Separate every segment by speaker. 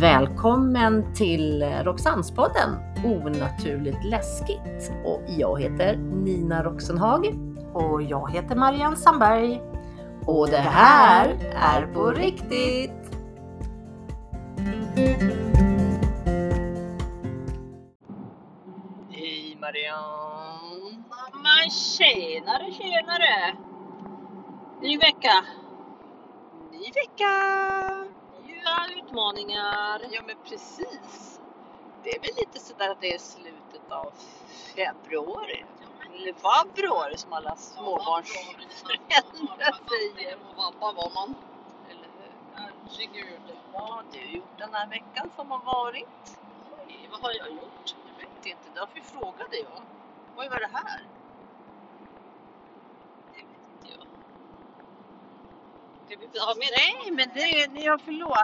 Speaker 1: Välkommen till Roxannespodden Onaturligt läskigt. Och jag heter Nina Roxenhag.
Speaker 2: Och jag heter Marianne Sandberg.
Speaker 1: Och det här är på riktigt!
Speaker 2: Hej Marianne! Men tjenare tjenare! Ny vecka!
Speaker 3: Ny vecka!
Speaker 2: Nya utmaningar!
Speaker 3: Ja men precis. Det är väl lite sådär att det är slutet av februari. Eller februari som alla småbarnsföräldrar säger.
Speaker 2: Pappa var man.
Speaker 3: Eller hur?
Speaker 2: Herregud.
Speaker 3: Vad har du gjort den här veckan som har varit?
Speaker 2: Oj, Vad har jag gjort?
Speaker 3: Jag vet inte, därför frågade jag. Oj, vad är det här?
Speaker 2: Det vet inte jag. Det vi har med
Speaker 3: Nej, men det är... Ja, förlåt.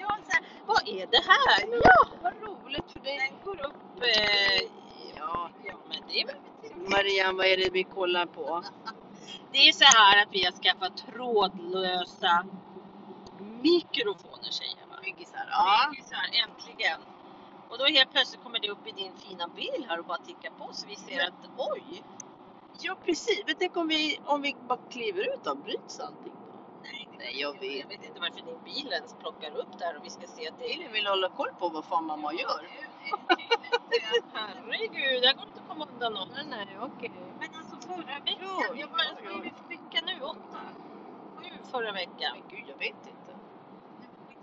Speaker 2: Jag var så här, Vad är det här?
Speaker 3: Ja, vad roligt för dig.
Speaker 2: Den går upp... Eh,
Speaker 3: Ja,
Speaker 2: ja, men det är väl
Speaker 3: Marianne, vad är det vi kollar på?
Speaker 2: Det är så här att vi har skaffat trådlösa mikrofoner tjejer. Va?
Speaker 3: Byggisar.
Speaker 2: Det är ju så här, äntligen. Och då helt plötsligt kommer det upp i din fina bil här och bara tickar på så vi ser att oj,
Speaker 3: Ja precis, men tänk om vi, om vi bara kliver ut då, bryts allting?
Speaker 2: nej, det-
Speaker 3: Nej, jag vet.
Speaker 2: jag vet inte varför din bil ens plockar upp där och vi ska se att det är
Speaker 3: Elin vill hålla koll på vad fan mamma gör.
Speaker 2: Herregud, jag går inte att komma undan någon.
Speaker 3: Nej, nej, okej.
Speaker 2: Men alltså förra
Speaker 3: Jo,
Speaker 2: veckan, jag bara,
Speaker 3: jo, jo.
Speaker 2: vad är det för vecka nu? Åtta? Sju förra veckan.
Speaker 3: Men gud, jag vet inte.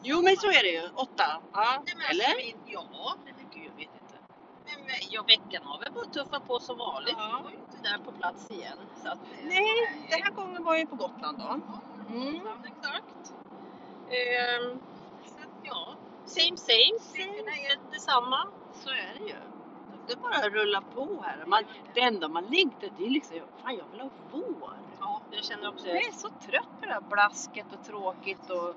Speaker 3: Jo, men så är det ju. Åtta. Ja.
Speaker 2: Nej, men alltså,
Speaker 3: Eller?
Speaker 2: vi- Ja,
Speaker 3: Nej, men gud, jag vet inte.
Speaker 2: Men ja, veckan har väl bara tuffat på som vanligt.
Speaker 3: Ja.
Speaker 2: Vi var ju inte där på plats igen. Så att, eh,
Speaker 3: Nej, den här gången var jag ju på Gotland då.
Speaker 2: Mm. Exakt. Ehm, så att, ja, same same. Siffrorna är detsamma.
Speaker 3: Så är det ju. Det bara rullar på här. Man, det enda man längtar till är liksom, fan jag vill ha vår.
Speaker 2: Ja, jag känner också
Speaker 3: Jag är så trött på det här blasket och tråkigt och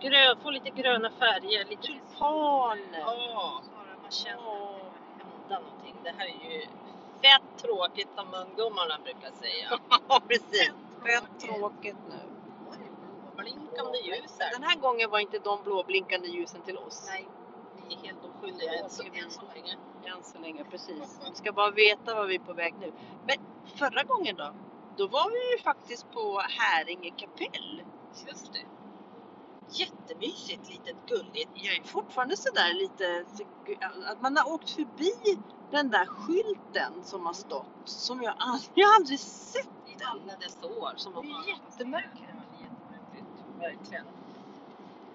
Speaker 2: grön, få lite gröna färger. Lite
Speaker 3: tulpaner.
Speaker 2: Ja, bara man känner att det kommer hända någonting. Det här är ju fett tråkigt som ungdomarna brukar säga.
Speaker 3: Ja, precis. Fett tråkigt nu.
Speaker 2: Blinkande ljus här.
Speaker 3: Den här gången var inte de blåblinkande ljusen till oss.
Speaker 2: Nej, ni är helt oskyldiga än så, än så länge.
Speaker 3: Än så länge, precis. Vi ska bara veta var vi är på väg nu. Men förra gången då? Då var vi ju faktiskt på Häringe kapell.
Speaker 2: Just det. Jättemysigt, litet gulligt.
Speaker 3: Jag är fortfarande sådär lite... Att man har åkt förbi den där skylten som har stått. Som jag aldrig, jag har aldrig sett.
Speaker 2: I alla dessa år. Som
Speaker 3: Det är
Speaker 2: har-
Speaker 3: jättemärkligt.
Speaker 2: Ja, jättemärkligt, Verkligen.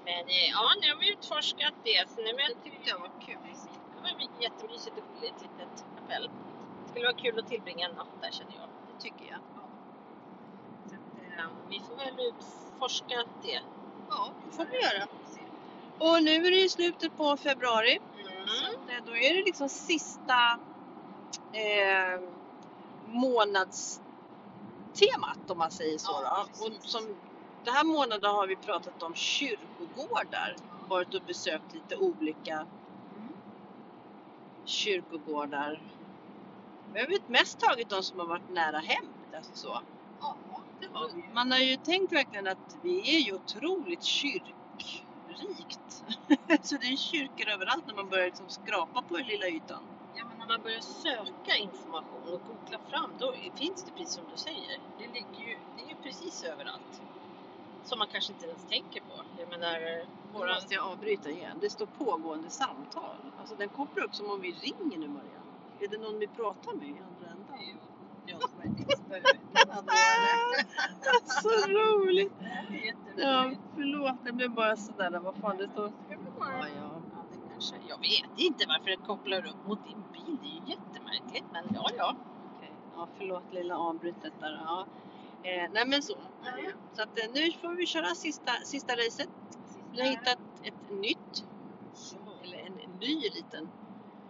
Speaker 2: Men eh, ja, nu har vi utforskat det. Så nu men, tyckte jag var kul. Det var jättemysigt och gulligt litet kapell. Det skulle vara kul att tillbringa en natt där känner jag.
Speaker 3: Det tycker jag.
Speaker 2: Så att, eh, vi får väl utforska det.
Speaker 3: Ja, det får vi göra. Och nu är det ju slutet på februari.
Speaker 2: Mm.
Speaker 3: Det- Då är det liksom sista eh, månadstemat om man säger så.
Speaker 2: Ja,
Speaker 3: då. Och
Speaker 2: precis.
Speaker 3: som, den här månaden har vi pratat om kyrkogårdar. Varit och besökt lite olika kyrkogårdar. Vi har väl mest tagit de som har varit nära hem. Alltså så.
Speaker 2: Ja, det var vi.
Speaker 3: Man har ju tänkt verkligen att vi är ju otroligt kyrkrikt. så det är kyrkor överallt när man börjar liksom skrapa på den lilla ytan.
Speaker 2: Ja, men när man börjar söka information och googla fram, då finns det precis som du säger. Det, ligger ju, det är ju precis överallt. Som man kanske inte ens tänker på. Jag menar,
Speaker 3: Nu
Speaker 2: våra...
Speaker 3: måste jag avbryta igen. Det står pågående samtal. Alltså den kopplar upp som om vi ringer nu Marianne. Är det någon vi pratar med i andra änden? Så roligt! Ja, förlåt, det blev bara sådär. Vad fan, det står... Ja, ja.
Speaker 2: Ja, det kanske- Jag vet inte varför det kopplar upp mot din bil. Det är ju jättemärkligt, men ja, ja.
Speaker 3: Okej. Ja, förlåt lilla avbrytet där. Ja. Eh, nej men så. Så att, eh, nu får vi köra sista, sista racet. Vi har hittat ett nytt, eller en ny liten.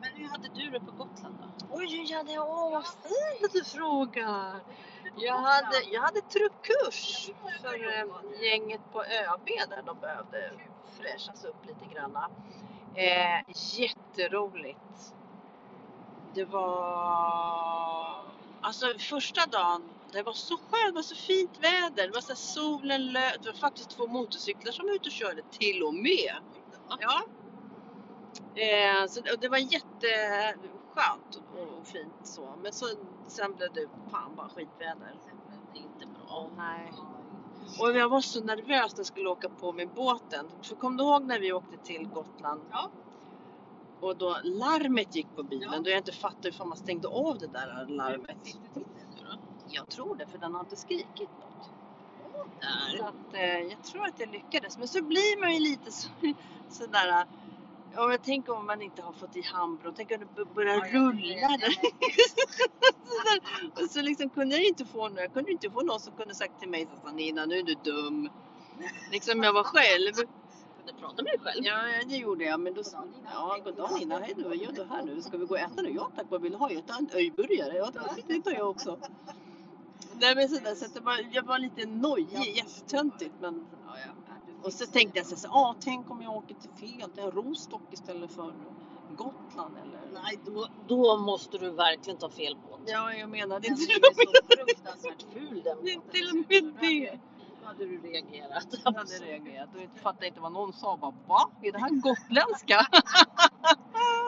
Speaker 2: Men hur hade du det på Gotland då?
Speaker 3: Oj, jag hade, åh vad fint att du frågar! Jag hade, jag hade truckkurs för eh, gänget på ÖB där de behövde fräschas upp lite granna. Eh, jätteroligt! Det var... Alltså första dagen Det var så skönt, det var så fint väder. Det var så här, solen löd. Det var faktiskt två motorcyklar som var ute och körde till och med. Ja. Eh, så, och det var jätteskönt och, och fint så. Men så, sen blev det fan bara skitväder.
Speaker 2: Det är inte bra.
Speaker 3: Nej. Och jag var så nervös när jag skulle åka på med båten. För kom du ihåg när vi åkte till Gotland?
Speaker 2: Ja.
Speaker 3: Och då larmet gick på bilen.
Speaker 2: Ja.
Speaker 3: Då jag inte fattade hur fan man stängde av det där larmet.
Speaker 2: Sitter till nu då?
Speaker 3: Jag tror det, för den har inte skrikit något.
Speaker 2: Där.
Speaker 3: Så att, eh, jag tror att jag lyckades. Men så blir man ju lite så, sådär... eh, Ja, men tänk om man inte har fått i handbron. Tänk om det b- börjar
Speaker 2: Ja, jag
Speaker 3: rulla
Speaker 2: vet, jag
Speaker 3: där. Sådär. Och så liksom kunde jag inte få någon. Jag kunde inte få någon som kunde sagt till mig att Nina, nu är du dum. Liksom jag var själv.
Speaker 2: Kan du prata med dig själv?
Speaker 3: Ja, det gjorde jag. Men då sa ja, goddag Nina, hej du, vad gör du här nu? Ska vi gå och äta nu? Ja tack, vad vill du ha? Jag tar en öjburgare. Ja tack, det tar jag också. Nej men sådär, så att det var, jag var lite nojig, jättetöntigt. Men, ja, ja. Och så tänkte jag såhär, ah, tänk om jag åker till fel, till Rostock istället för Gotland eller?
Speaker 2: Nej, då, då måste du verkligen ta fel båt.
Speaker 3: Ja, jag menade
Speaker 2: Den är
Speaker 3: inte
Speaker 2: ju
Speaker 3: det.
Speaker 2: så fruktansvärt ful den
Speaker 3: Men
Speaker 2: båten.
Speaker 3: till och med det.
Speaker 2: Då hade du reagerat.
Speaker 3: Jag hade reagerat och jag fattade inte vad någon sa. Bara, Va? Är det här gotländska?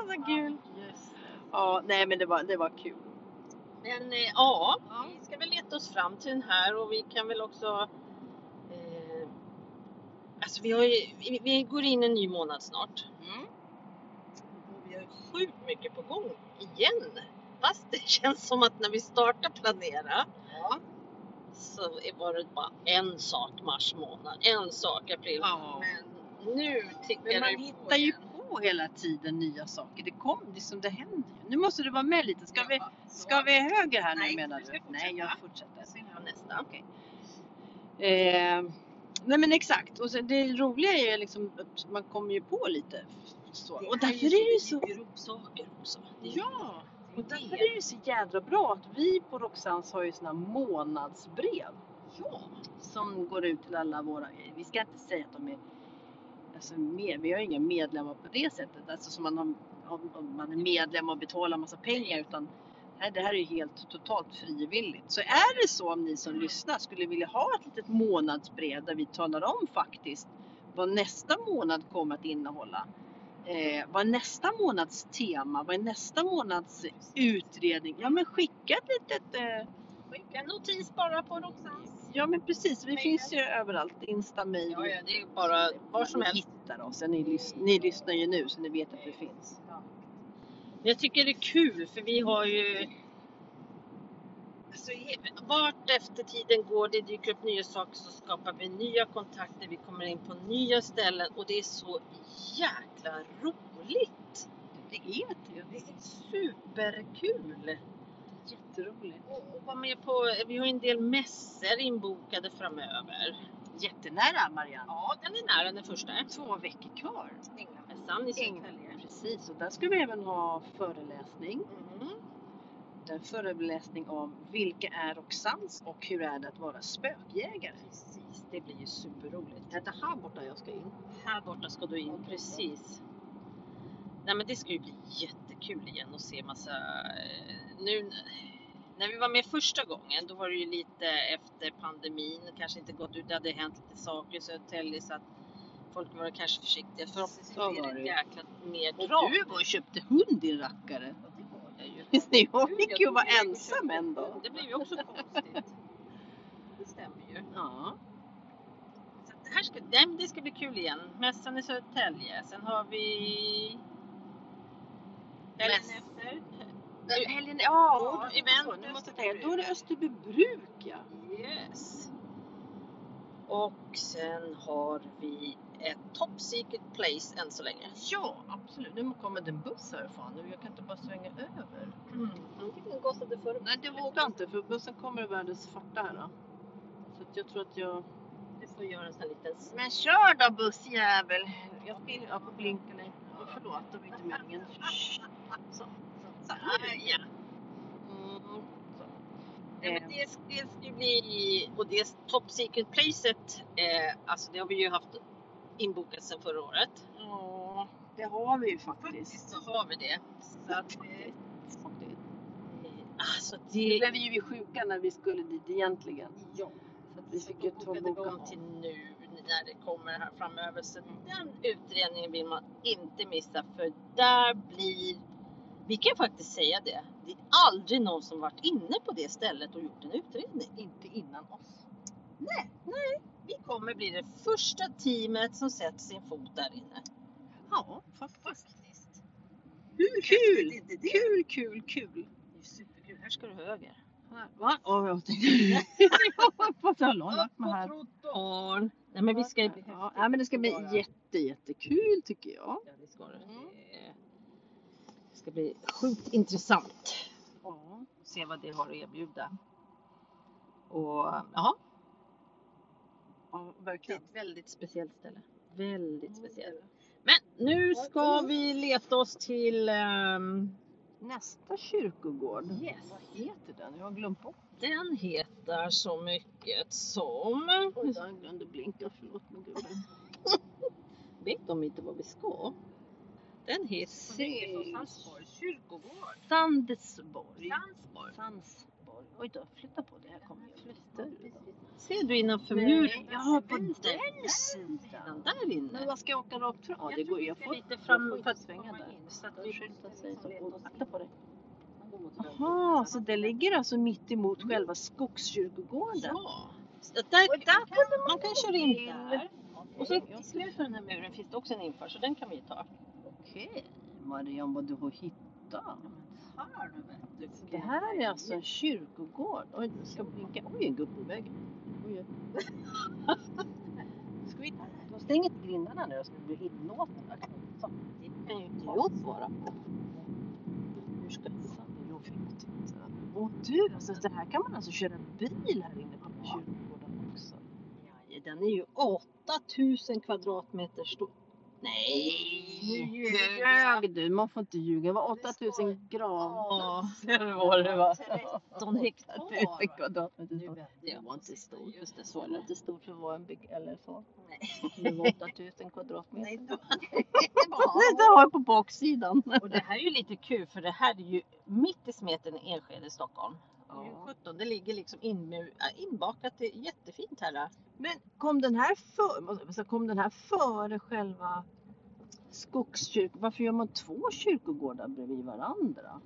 Speaker 3: så kul.
Speaker 2: Just det.
Speaker 3: Ja, nej men det var, det var kul.
Speaker 2: Men eh, ja,
Speaker 3: Ja.
Speaker 2: vi ska väl leta oss fram till den här och vi kan väl också... Eh, alltså vi, har ju, vi, vi går in en ny månad snart.
Speaker 3: Mm.
Speaker 2: Och vi har ju sjukt mycket på gång igen. Fast det känns som att när vi startar planera
Speaker 3: Ja.
Speaker 2: så är- var det bara en sak mars månad, en sak april.
Speaker 3: Ja.
Speaker 2: Men nu tickar
Speaker 3: Men
Speaker 2: det
Speaker 3: man
Speaker 2: ju
Speaker 3: hittar ju
Speaker 2: igen.
Speaker 3: på hela tiden nya saker. Det kom, liksom, det händer ju. Nu måste du vara med lite. Ska, vi,
Speaker 2: Ja,
Speaker 3: ska vi höger här
Speaker 2: Nej,
Speaker 3: nu menar
Speaker 2: du
Speaker 3: du?
Speaker 2: ska fortsätta.
Speaker 3: Nej, jag fortsätter.
Speaker 2: så är det nästa.
Speaker 3: Okej. Eh, nej men exakt. Och sen, det roliga är ju liksom att man kommer ju på lite. Så. Och därför är det
Speaker 2: typ
Speaker 3: ju så...
Speaker 2: Vi upp saker också. Det är ju
Speaker 3: Ja!
Speaker 2: det.
Speaker 3: Och därför är det ju så jädra bra att vi på Roxans har ju såna månadsbrev
Speaker 2: Ja.
Speaker 3: som går ut till alla våra... Vi ska inte säga att de är... Alltså med, vi har ju inga medlemmar på det sättet, alltså som man, har, om- om man är medlem och betalar massa pengar utan nej, det här är ju helt totalt frivilligt. Så är det så om ni som lyssnar skulle vilja ha ett litet månadsbrev där vi talar om faktiskt vad nästa månad kommer att innehålla. Eh, vad är nästa månads tema? Vad är nästa månads utredning? Ja men skicka ett litet eh,
Speaker 2: Skicka en notis bara på Roxans.
Speaker 3: Ja men precis, vi
Speaker 2: Mejlen.
Speaker 3: finns ju överallt. Insta, mail.
Speaker 2: Ja, ja, det är bara var som
Speaker 3: Ni
Speaker 2: helst.
Speaker 3: hittar oss. Ja, Ni, lys- ni lyssnar ju nu så ni vet att vi finns.
Speaker 2: Jag tycker det är kul för vi har ju... Alltså, he- vart efter tiden går, det dyker upp nya saker så skapar vi nya kontakter, vi kommer in på nya ställen och det är så jäkla roligt.
Speaker 3: Det är
Speaker 2: Det
Speaker 3: det.
Speaker 2: är superkul!
Speaker 3: Jätteroligt.
Speaker 2: Och, och vara med på, vi har ju en del mässor inbokade framöver.
Speaker 3: Jättenära Marianne.
Speaker 2: Ja, den är nära den första.
Speaker 3: Två veckor kvar.
Speaker 2: Änglamässan i Södertälje.
Speaker 3: Precis, och där ska vi även ha föreläsning.
Speaker 2: Mm.
Speaker 3: En föreläsning om vilka är Roxans och hur är det att vara spökjägare.
Speaker 2: Precis, det blir ju superroligt.
Speaker 3: Är det här borta jag ska in?
Speaker 2: Här borta ska du in, precis. Nej men det ska ju bli jättekul igen och se massa... eh, Nu när vi var med första gången då var det ju lite efter pandemin, kanske inte gått ut, det hade hänt lite saker i Södertälje så att folk var kanske försiktiga. Förhoppningsvis
Speaker 3: Så
Speaker 2: blir
Speaker 3: var
Speaker 2: det
Speaker 3: det.
Speaker 2: ett jäkla mer
Speaker 3: Och
Speaker 2: drag.
Speaker 3: du var och köpte hund din rackare.
Speaker 2: Ja, det var jag ju.
Speaker 3: Ni
Speaker 2: Gud,
Speaker 3: fick ju
Speaker 2: jag
Speaker 3: vara
Speaker 2: trodde jag
Speaker 3: ensam
Speaker 2: köpte
Speaker 3: en
Speaker 2: hund.
Speaker 3: dag.
Speaker 2: Det blev ju också konstigt. Det stämmer ju.
Speaker 3: Ja.
Speaker 2: Så att det, här ska, nej, men det ska bli kul igen. Mässan i Södertälje. Sen har vi...
Speaker 3: Mäss.
Speaker 2: efter.
Speaker 3: Nu- Helgen, ja,
Speaker 2: Ja,
Speaker 3: och-
Speaker 2: event,
Speaker 3: nu måste jag
Speaker 2: Österbybruk.
Speaker 3: tänka. Då är det Österbybruk ja.
Speaker 2: Yes. Och sen har vi ett top secret place än så länge.
Speaker 3: Ja, absolut. Nu kommer den buss härifrån. Nu, Jag kan inte bara svänga över.
Speaker 2: Mm. Den kostade förra
Speaker 3: Nej, det vågar jag inte för bussen kommer i världens farta här. Då. Så att jag tror att jag...
Speaker 2: Du får göra en sån här liten smäll.
Speaker 3: Men kör då bussjävel! Jag vill... Ja, blinka dig. Ja, förlåt, det var inte meningen. Shh. Så.
Speaker 2: Så här, ja.
Speaker 3: Mm.
Speaker 2: Nej, men det, det ska ju bli... Och det top secret placet, eh, alltså det har vi ju haft inbokat sedan förra året.
Speaker 3: Ja, det har vi ju faktiskt.
Speaker 2: Så har vi det. Så att, eh,
Speaker 3: Faktiskt.
Speaker 2: Eh,
Speaker 3: Alltså det... Nu blev vi ju sjuka när vi skulle dit egentligen.
Speaker 2: Ja.
Speaker 3: Så att vi fick ju
Speaker 2: bokade
Speaker 3: boka
Speaker 2: vi om
Speaker 3: om.
Speaker 2: till nu när det kommer här framöver. Så den utredningen vill man inte missa för där blir, vi kan faktiskt säga det, det är aldrig någon som varit inne på det stället och gjort en utredning. Inte innan oss. Nej, nej. Vi kommer bli det första teamet som sätter sin fot där inne.
Speaker 3: Ja,
Speaker 2: Faktiskt.
Speaker 3: Hur kul! Kul, kul, kul!
Speaker 2: Det är superkul. Här ska du höger.
Speaker 3: Va? Åh, jag tänkte... jag hoppas jag har lagt mig här.
Speaker 2: trottoarn! Nej men vi ska...
Speaker 3: Ja, nej, men det ska bli jätte, jättekul tycker jag.
Speaker 2: Ja, det ska det.
Speaker 3: Mm.
Speaker 2: Det är- Det ska bli sjukt intressant
Speaker 3: Ja.
Speaker 2: att se vad det har att erbjuda. Och ja,
Speaker 3: Ja,
Speaker 2: det är
Speaker 3: verkligen.
Speaker 2: ett väldigt speciellt ställe.
Speaker 3: Mm.
Speaker 2: Väldigt speciellt. Men nu ska vi leta oss till ehm,
Speaker 3: Nästa kyrkogård.
Speaker 2: Yes.
Speaker 3: Vad heter den? Jag har glömt bort
Speaker 2: den heter så mycket som...
Speaker 3: den. Jag glömde blinka, förlåt mig gubben.
Speaker 2: Vet de inte vad vi ska? Den heter
Speaker 3: kyrkogård.
Speaker 2: Sandesborg.
Speaker 3: Sandsborg. Oj då, flytta på det. Här kommer jag. Flyttar du då?
Speaker 2: Ser du innanför
Speaker 3: Nej,
Speaker 2: muren?
Speaker 3: ja, på
Speaker 2: den
Speaker 3: den
Speaker 2: sidan.
Speaker 3: sidan.
Speaker 2: Där
Speaker 3: Men
Speaker 2: inne.
Speaker 3: vad ska jag åka rakt fram? Ja, det går ju. Jag får
Speaker 2: lite
Speaker 3: jag får
Speaker 2: fram
Speaker 3: inte
Speaker 2: för att
Speaker 3: svänga
Speaker 2: svänga
Speaker 3: där.
Speaker 2: där. In, så att vi
Speaker 3: skjuta sig så.
Speaker 2: och
Speaker 3: Och akta på dig. Jaha, så det ligger alltså mitt emot själva skogskyrkogården?
Speaker 2: Ja. Så Där, där kan, man kan köra in där. Och så i slutet av den här muren finns det också en infart så den kan vi ju ta.
Speaker 3: Okej, Marianne, vad du har hittat.
Speaker 2: Du får
Speaker 3: Det här är alltså en kyrkogård. Oj, nu ska jag blinka. Oj, en gubbe i vägen. Oj. Ska vi De stänger grindarna nu så vi blir inlåsta. Så,
Speaker 2: Det kan ju inte jag svara på.
Speaker 3: Hur ska vi fan, det är jobbigt. Åh du, alltså det här kan man alltså köra bil här inne på den här kyrkogården också.
Speaker 2: Ja, Den är ju 8000 kvadratmeter stor. Nej!
Speaker 3: Nu ljög du, man får inte ljuga. Det var 8000 gram.
Speaker 2: Ja,
Speaker 3: Det var det va?
Speaker 2: 13
Speaker 3: 1000
Speaker 2: hektar. Nu
Speaker 3: kvadratmeter.
Speaker 2: vände
Speaker 3: Det var inte stort.
Speaker 2: Just det,
Speaker 3: Det
Speaker 2: så
Speaker 3: var
Speaker 2: lite.
Speaker 3: inte stort för att vara en bygg eller så.
Speaker 2: Nej.
Speaker 3: Det var 8000 kvadratmeter.
Speaker 2: Nej, då-
Speaker 3: Det var på baksidan.
Speaker 2: Och det här är ju lite kul för det här är ju mitt i smeten i Enskede i Stockholm. Det är ju 17, det ligger liksom inmu- äh, inbakat, det är jättefint här. äh.
Speaker 3: Men kom den här före, alltså kom den här före själva skogskyrkan? Varför gör man två kyrkogårdar bredvid varandra?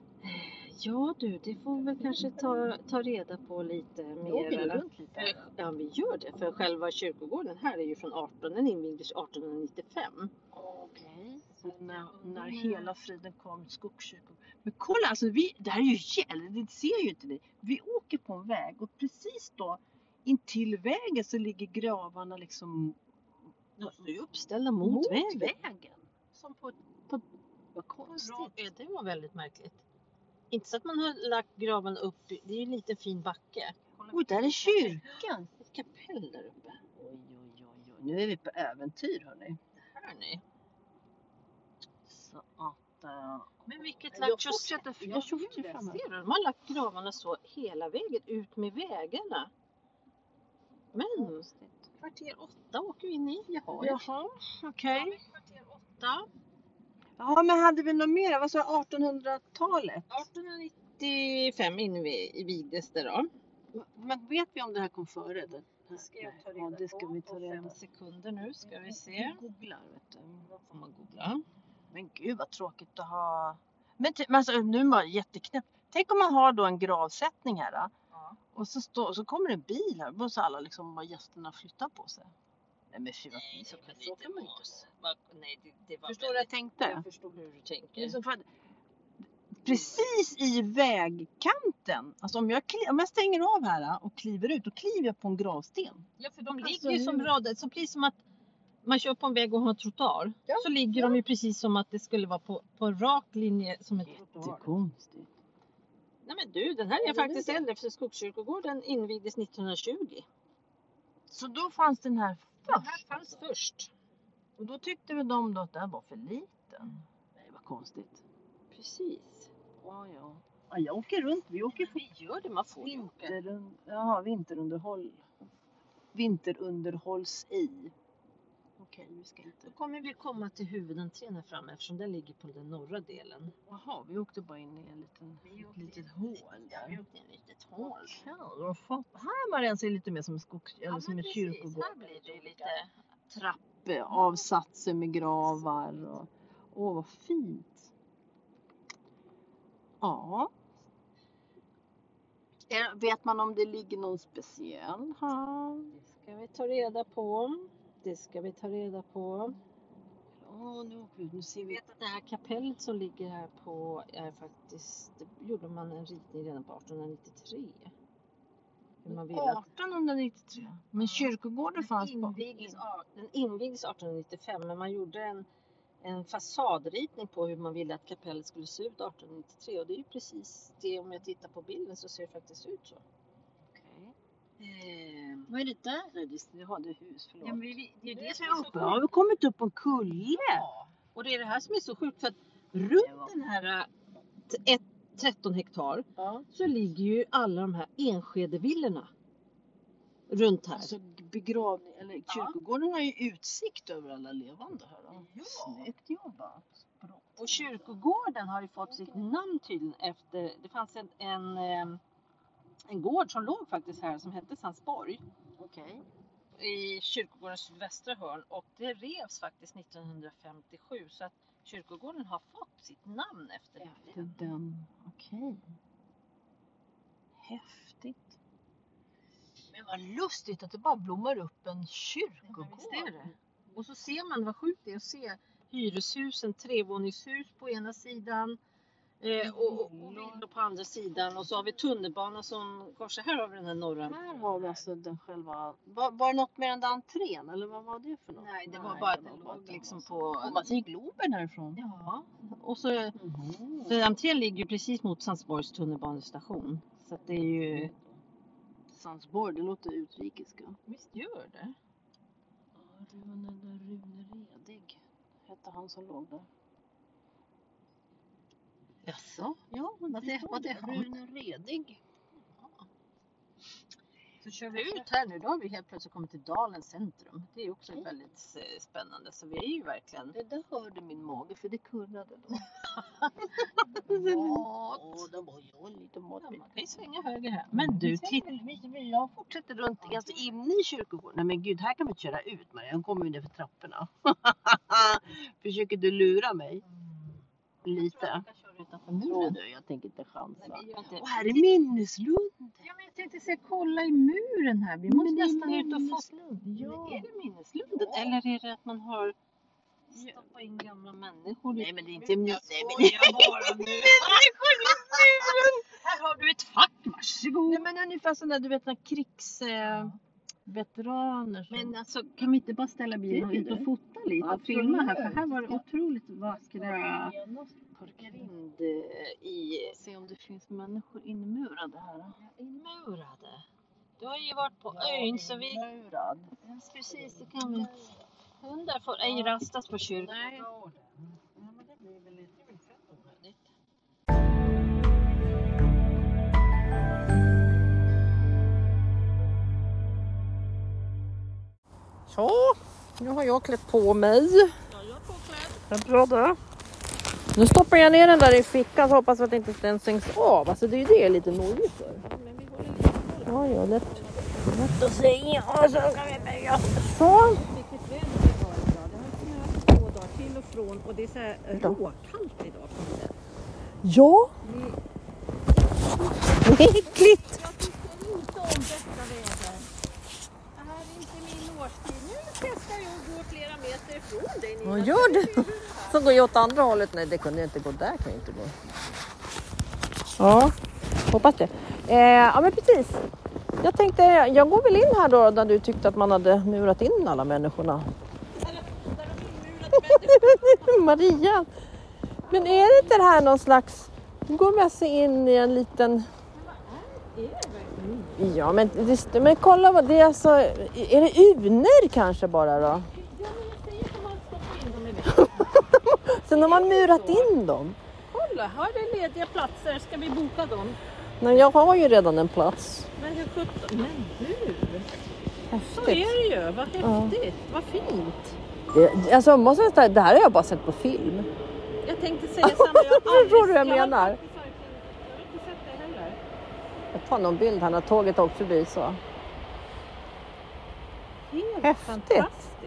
Speaker 2: Ja du, det får vi väl kanske ta, ta reda på lite
Speaker 3: Då åker vi
Speaker 2: mer.
Speaker 3: runt lite.
Speaker 2: Eh, Ja, vi gör det. För själva kyrkogården här är ju från 18, den invigdes 1895.
Speaker 3: Okej. Så När, när hela friden kom skogskyrkogården. Men kolla, alltså vi, det här är ju jävligt, det ser ju inte ni. Vi åker på en väg och precis då intill vägen så ligger gravarna liksom
Speaker 2: De står ju uppställda mot, vägen. Som på, på,
Speaker 3: Vad
Speaker 2: Bra.
Speaker 3: konstigt.
Speaker 2: Ja, det var väldigt märkligt. Inte så att man har lagt graven upp, i- det är ju en liten fin backe.
Speaker 3: Oj, där är kyrkan.
Speaker 2: Ett kapell där uppe.
Speaker 3: Oj, oj, oj, oj. Nu är vi på äventyr hörni.
Speaker 2: Hör ni?
Speaker 3: Så att... eh,
Speaker 2: Men vilket
Speaker 3: Jag
Speaker 2: lack
Speaker 3: fortsätter- jag fortsätter framåt.
Speaker 2: Ser du? De har lagt gravarna så hela vägen ut med vägarna. Men kvarter åtta åker vi in i. Jaha, ja.
Speaker 3: Jaha, okej.
Speaker 2: Kvarter åtta.
Speaker 3: Ja, men hade vi något mer? Vad sa jag, 1800-talet?
Speaker 2: 1895 invi- vigdes det då.
Speaker 3: Men vet vi om det här kom före? Den? ja, det ska vi ta reda
Speaker 2: Fem
Speaker 3: på.
Speaker 2: sekunder nu ska vi se.
Speaker 3: Vi googlar, vet du.
Speaker 2: Får man googla.
Speaker 3: Men gud vad tråkigt att ha. Men, ty- men alltså, nu var det jätteknäppt. Tänk om man har då en gravsättning här. Då,
Speaker 2: Ja.
Speaker 3: och så, stå, så kommer det en bil här. Då måste alla liksom, bara gästerna flytta på sig. Nej men fy vad
Speaker 2: Nej, så kan det
Speaker 3: så
Speaker 2: inte
Speaker 3: kan man ju
Speaker 2: vara.
Speaker 3: inte.
Speaker 2: Va- Nej, det, det var
Speaker 3: Förstår du vad jag tänkte?
Speaker 2: Jag förstår hur du
Speaker 3: Det är
Speaker 2: tänker.
Speaker 3: som fan- Precis i vägkanten. Alltså om jag, kli- om jag stänger av här och kliver ut, då kliver jag på en gravsten.
Speaker 2: Ja, för de ligger
Speaker 3: Alltså,
Speaker 2: ju som
Speaker 3: nu-
Speaker 2: rader, så precis som att man kör på en väg och har en trottoar.
Speaker 3: Ja,
Speaker 2: Så ligger de ju precis som att det skulle vara på, på en rak linje som ett trottoar.
Speaker 3: Jättekonstigt.
Speaker 2: Nej men du, den här är
Speaker 3: Eller
Speaker 2: faktiskt
Speaker 3: hur?
Speaker 2: äldre för Skogskyrkogården invigdes 1920.
Speaker 3: Så då fanns den här
Speaker 2: Den här
Speaker 3: först.
Speaker 2: fanns först.
Speaker 3: Och då tyckte väl de då att den var för liten. Nej vad konstigt.
Speaker 2: Precis.
Speaker 3: Ja, ja. ja jag åker runt. Vi åker på
Speaker 2: Vi gör det, man får ju åka.
Speaker 3: vinterun- Jaha, vinterunderhåll. Vinterunderhålls i. okej, vi ska inte...
Speaker 2: Då kommer vi komma till huvudentrén här framme eftersom den ligger på den norra delen.
Speaker 3: Jaha, vi åkte bara in i en liten...
Speaker 2: Ett litet hål där.
Speaker 3: vi
Speaker 2: åkte in i ett litet
Speaker 3: hål.
Speaker 2: Här var den ser lite mer som en skogs... Eller som en kyrkogård.
Speaker 3: Här blir det ju lite trappavsatser med gravar och... Åh, vad fint! Ja. Eh, Vet man om det ligger någon speciell här?
Speaker 2: Det ska vi ta reda på. Det ska vi ta reda på.
Speaker 3: Åh, nu åker vi ut. Nu ser
Speaker 2: Vi
Speaker 3: vi...
Speaker 2: vet att det här kapellet som ligger här på är faktiskt, det gjorde man en ritning redan på 1893. Hur man ville att
Speaker 3: 1893. Men kyrkogården fanns
Speaker 2: den
Speaker 3: på...
Speaker 2: invigdes, ja, den invigdes 1895 men man gjorde en, en fasadritning på hur man ville att kapellet skulle se ut 1893 och det är ju precis det om jag tittar på bilden så ser det faktiskt ut så.
Speaker 3: Okej.
Speaker 2: Ehm,
Speaker 3: Vad är det där? Register? Jaha, det är hus. Förlåt.
Speaker 2: Ja, men vi, det är ju det som
Speaker 3: är
Speaker 2: är så
Speaker 3: uppe. Har vi kommit upp på en kulle?
Speaker 2: Ja, och det är det här som är så sjukt för att runt den här äh, t- ett- 13 hektar
Speaker 3: Ja.
Speaker 2: så ligger ju alla de här Enskedevillorna runt här.
Speaker 3: Alltså begravning, eller kyrkogården har ju utsikt över alla levande här. Då.
Speaker 2: Ja.
Speaker 3: Snyggt jobbat. Bra.
Speaker 2: Och kyrkogården har ju fått sitt namn tydligen efter, det fanns en, en, ehm, en gård som låg faktiskt här som hette Sandsborg
Speaker 3: Okej.
Speaker 2: i kyrkogårdens sydvästra hörn och det revs faktiskt 1957 så att kyrkogården har fått sitt namn efter
Speaker 3: Efter
Speaker 2: det.
Speaker 3: den. Okej. Häftigt. Men vad lustigt att det bara blommar upp en kyrkogård.
Speaker 2: Ja, visst är det. Och så ser man vad sjukt det är att se hyreshusen, trevåningshus på ena sidan eh, och, och och villor på andra sidan och så har vi tunnelbanan som korsar. Här har vi den här norra.
Speaker 3: Här har vi alltså den själva... Var, var det något med den där entrén eller vad var det för något?
Speaker 2: Nej, det var bara att
Speaker 3: det
Speaker 2: den
Speaker 3: var
Speaker 2: låg
Speaker 3: bara
Speaker 2: liksom
Speaker 3: att den
Speaker 2: på...
Speaker 3: var så. Åh, man ser Globen härifrån.
Speaker 2: Ja, och så...
Speaker 3: Mhm.
Speaker 2: så Entrén ligger ju precis mot Sandsborgs tunnelbanestation. Så att det är ju...
Speaker 3: Sandsborg, det låter utrikiska.
Speaker 2: Visst gör det?
Speaker 3: Rune, Rune Redig hette han som låg där.
Speaker 2: Jaså?
Speaker 3: Ja,
Speaker 2: Vad är- vad är han?
Speaker 3: Rune Redig.
Speaker 2: Så kör vi ut här nu, då har vi helt plötsligt kommit till Dalens centrum. Det är också väldigt eh, spännande, så vi är ju verkligen...
Speaker 3: Det där hörde min mage för det kurrade då.
Speaker 2: Mat!
Speaker 3: Åh, det var ju lite
Speaker 2: Ja,
Speaker 3: matbit.
Speaker 2: man kan ju svänga höger här. Men du, titta!
Speaker 3: Jag fortsätter runt, alltså inne i kyrkogården. Nej men gud, här kan vi inte köra ut Maria. Hon kommer ju ner för trapporna. Försöker du lura mig? Lite.
Speaker 2: Utanför
Speaker 3: Tror
Speaker 2: muren.
Speaker 3: du? Jag tänker inte chansa.
Speaker 2: Nej, vi gör inte det.
Speaker 3: Och här är minneslund.
Speaker 2: Ja, men jag tänkte säga, kolla i muren här. Vi måste
Speaker 3: Men det är
Speaker 2: nästan ut och få...
Speaker 3: minneslund,
Speaker 2: Men Är
Speaker 3: Ja.
Speaker 2: det minneslunden? Eller är det att man har stoppat in gamla människor i
Speaker 3: Nej men det är inte minneslund. Nej, men
Speaker 2: Här har du ett fack, varsågod!
Speaker 3: Nej men ungefär som när du vet när eh,
Speaker 2: Ja.
Speaker 3: krigsveteraner
Speaker 2: Men alltså, kan vi inte bara ställa bilen och
Speaker 3: Tycker
Speaker 2: ut och
Speaker 3: du?
Speaker 2: fota lite och
Speaker 3: Absolut.
Speaker 2: filma här? För här var det otroligt vackra grind eh, i
Speaker 3: Se om det finns människor inmurade här.
Speaker 2: inmurade. Du har ju varit på ön så vi...
Speaker 3: Inmurad.
Speaker 2: Precis, det kan vi. Hundar får ej rastas på kyrkan. Nej.
Speaker 4: Ja, nu har jag klätt på mig. Ja, jag är påklädd. Bra det. Nu stoppar jag ner den där i fickan så hoppas att inte den stängs av. Alltså det är ju det jag är lite noggrann för. Ja, ja, lätt. Lätt att säga. Och så kan vi böja. Så.
Speaker 5: Vilket väder vi har idag. Det har snöat två dagar till och från och det är så här eh, råkallt idag. på något sätt.
Speaker 4: Ja. Det är äckligt.
Speaker 5: Jag tycker inte om detta väder. Det här är inte min årstid. Nu testar jag att gå flera meter ifrån dig Nina.
Speaker 4: Vad gör du? Så går jag åt andra hållet. Nej, det kunde jag inte gå. Där kan jag inte gå. Ja, hoppas det. Eh, ja, men precis. Jag tänkte, jag går väl in här då där du tyckte att man hade murat in alla människorna.
Speaker 5: Där har vi murat människor.
Speaker 4: Maria, men är det inte det här någon slags... Nu går med sig in i en liten... Ja, men, det- men kolla vad det är så... Är det unor kanske bara då?
Speaker 5: Ja men jag säger som man stoppar in dem i väggen.
Speaker 4: Sen har man murat in dem.
Speaker 5: Kolla, här är lediga platser. Ska vi boka dem?
Speaker 4: Men jag har ju redan en plats.
Speaker 5: Men hur sjutton? Men hur?
Speaker 2: Så
Speaker 3: häftigt.
Speaker 2: är det ju. Vad häftigt. Vad fint.
Speaker 3: Det, alltså, jag måste säga, det här har jag bara sett på film.
Speaker 2: Jag tänkte säga samma. Jag har aldrig-
Speaker 3: Förstår du vad jag
Speaker 2: har
Speaker 3: menar?
Speaker 2: faktiskt aldrig- Jag har inte sett det heller.
Speaker 3: Jag tar någon bild här när tåget åkt förbi så.
Speaker 2: Helt
Speaker 3: Häftigt.
Speaker 2: fantastiskt.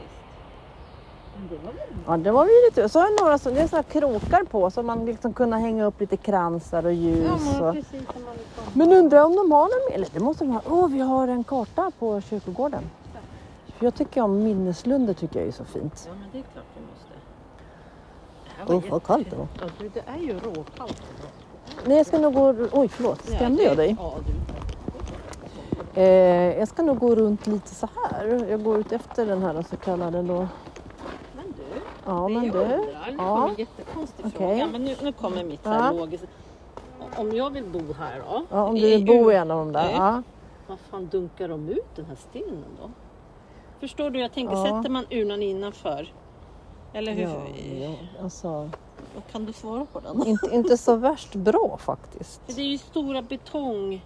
Speaker 2: Men det var väl
Speaker 3: Ja, det var ju lite... Så har jag några som, det är såna här krokar på så man liksom kunde hänga upp lite kransar och ljus.
Speaker 2: ja,
Speaker 3: Och...
Speaker 2: precis som man vill komma.
Speaker 3: Men undrar om de har någon... Eller det måste de ha. Åh, vi har en karta på kyrkogården. För jag tycker om minneslunder tycker jag är så fint.
Speaker 2: Ja, men det är klart vi måste.
Speaker 3: Åh, vad kallt det var.
Speaker 2: Ja, du, det är ju råkallt.
Speaker 3: Nej, jag ska nog gå... Oj, förlåt. Skrämde jag dig?
Speaker 2: Ja, du.
Speaker 3: Eh, jag ska nog gå runt lite så här. Jag går ut efter den här så kallade då.
Speaker 2: Men du,
Speaker 3: Ja,
Speaker 2: det
Speaker 3: men
Speaker 2: jag
Speaker 3: du.
Speaker 2: undrar, nu
Speaker 3: Ja.
Speaker 2: kommer en jättekonstig
Speaker 3: Okej.
Speaker 2: fråga. Men nu, nu kommer mitt
Speaker 3: Ja.
Speaker 2: ja. logiskt. Om jag vill bo här då?
Speaker 3: Ja, om du
Speaker 2: i
Speaker 3: vill bo
Speaker 2: U-
Speaker 3: i en av de där.
Speaker 2: Nej.
Speaker 3: Ja.
Speaker 2: Vad fan dunkar de ut den här stenen då? Förstår du? Jag tänker,
Speaker 3: Ja.
Speaker 2: sätter man urnan innanför? Eller hur?
Speaker 3: Ja, ja. Alltså,
Speaker 2: Och Kan du svara på den?
Speaker 3: inte, inte så värst bra faktiskt.
Speaker 2: Det är ju stora betong...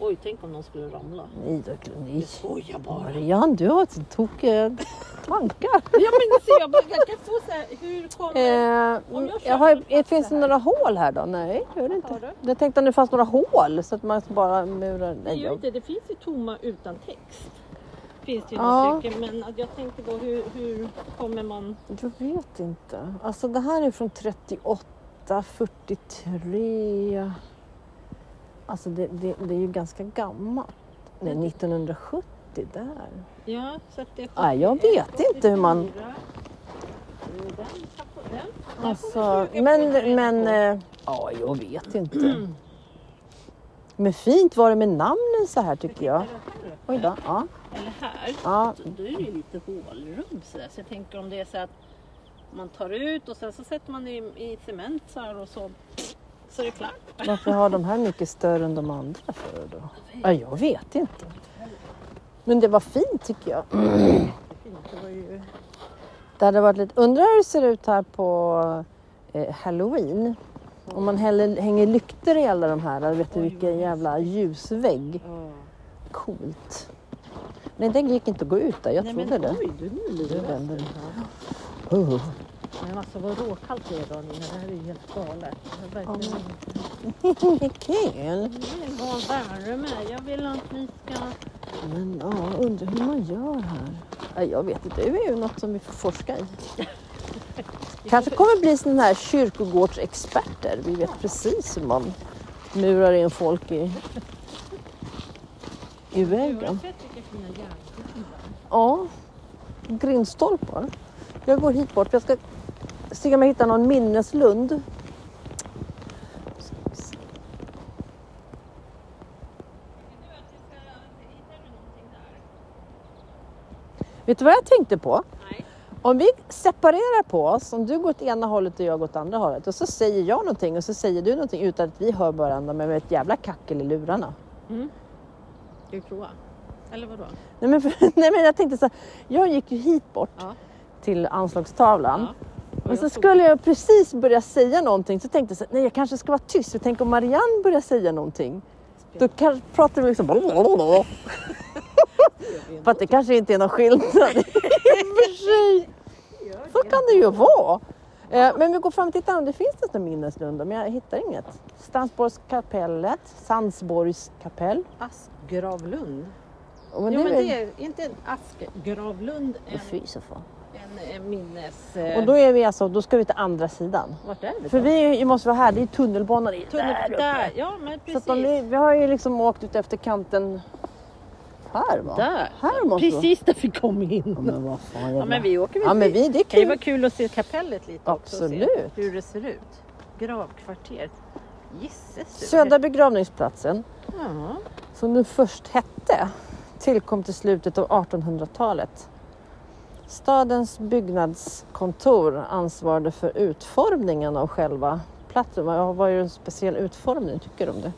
Speaker 2: Oj, tänk om någon skulle ramla.
Speaker 3: Nej, då, nej.
Speaker 2: Jag skojar bara.
Speaker 3: Marianne, du har så tokiga tankar.
Speaker 2: Ja, men se, jag, bara, jag kan få så här, hur kommer... Om
Speaker 3: Eh,
Speaker 2: jag kör
Speaker 3: jag har,
Speaker 2: runt fast
Speaker 3: finns
Speaker 2: så
Speaker 3: det
Speaker 2: här.
Speaker 3: några hål här då? Nej, det gör det
Speaker 2: Vad
Speaker 3: inte.
Speaker 2: sa
Speaker 3: Jag tänkte om det fanns några hål så att man bara murar.
Speaker 2: Det
Speaker 3: Nej,
Speaker 2: gör
Speaker 3: jag,
Speaker 2: inte, det finns ju tomma utan text. Finns det ju
Speaker 3: Ja.
Speaker 2: några stycken, men att jag tänkte då hur, hur kommer man...
Speaker 3: jag vet inte. Alltså det här är från 38, 43. Alltså det, det, det är ju ganska gammalt. Nej, 1970 där.
Speaker 2: Ja, så att det...
Speaker 3: Nej, jag vet inte hur man...
Speaker 2: 74. Mm, Den, kan få- den.
Speaker 3: Alltså, men, men... eh, Ja, jag vet inte. Men fint var det med namnen så här tycker jag. Oj då. Ja,
Speaker 2: Eller här.
Speaker 3: ja.
Speaker 2: Så Då är det ju lite hålrum så, där. så jag tänker om det är så att man tar ut och sen så sätter man i, i cement så här och så, så är det klart.
Speaker 3: Varför har de här mycket större än de andra för då? Ja, jag vet inte. Men det var fint tycker jag. Det hade varit lite... Undrar hur det ser ut här på eh, Halloween. Om man häller, hänger lykter i alla de här. Vet du vilken jävla ljusvägg. Coolt. Nej, den gick inte att gå ut där. Jag trodde det.
Speaker 2: oj, du nu blir
Speaker 3: Nu
Speaker 2: det.
Speaker 3: vänder den. Oh.
Speaker 2: Men alltså vad råkallt det är Daniel, det här är ju helt galet. Jag verkligen
Speaker 3: Kul!
Speaker 2: vill ha värme, jag vill att ni ska...
Speaker 3: Men ja, undrar hur man gör här. Nej, jag vet inte, det är ju något som vi får forska i. Kanske kommer bli sådana här kyrkogårdsexperter. Vi vet precis hur man murar in folk i, i vägen. Ja, grindstolpar. Jag går hit bort. Jag ska se om jag hittar någon minneslund. Vet du vad jag tänkte på?
Speaker 2: Nej.
Speaker 3: Om vi separerar på oss, om du går åt ena hållet och jag går åt andra hållet och så säger jag någonting och så säger du någonting utan att vi hör varandra men med ett jävla kackel i lurarna.
Speaker 2: Ska vi prova? Eller vadå?
Speaker 3: Nej men, för, nej men jag tänkte så här, jag gick ju hit bort
Speaker 2: Ja.
Speaker 3: till anslagstavlan.
Speaker 2: Ja.
Speaker 3: Men så skulle jag precis börja säga någonting så tänkte jag så här, nej jag kanske ska vara tyst. För tänk om Marianne börjar säga någonting. Då kan, pratar vi liksom blablabla. För att det kanske inte är någon skillnad i och för sig. Så kan det ju vara. Eh, Men vi går fram och tittar om det finns något där minneslund men jag hittar inget. Stansborgskapellet, Sandsborgs kapell.
Speaker 2: Askgravlund.
Speaker 3: Och
Speaker 2: Jo men
Speaker 3: väl-
Speaker 2: det är inte en askgravlund, en,
Speaker 3: Fy så fan.
Speaker 2: en, en minnes...
Speaker 3: Och då är vi alltså, då ska vi till andra sidan.
Speaker 2: Vart är vi?
Speaker 3: För vi måste vara här, det är tunnelbanan det är
Speaker 2: Tunnel,
Speaker 3: där
Speaker 2: där,
Speaker 3: uppe.
Speaker 2: ja men
Speaker 3: Så
Speaker 2: precis.
Speaker 3: att om vi, vi har ju liksom åkt ut efter kanten här va?
Speaker 2: Där.
Speaker 3: Här måste vi vara.
Speaker 2: Precis där vi kom in.
Speaker 3: Ja, men vad fan jävla...
Speaker 2: Ja men vi åker väl
Speaker 3: Ja men
Speaker 2: dit.
Speaker 3: vi, det är
Speaker 2: Det kan ju
Speaker 3: kul.
Speaker 2: vara kul att se kapellet lite också. och
Speaker 3: Absolut.
Speaker 2: se Hur det ser ut. Gravkvarter. Gisses du.
Speaker 3: Södra begravningsplatsen,
Speaker 2: Ja.
Speaker 3: som den först hette, tillkom till slutet av 1800-talet. Stadens byggnadskontor ansvarade för utformningen av själva platsen. Vad var ju en speciell utformning, tycker du om det?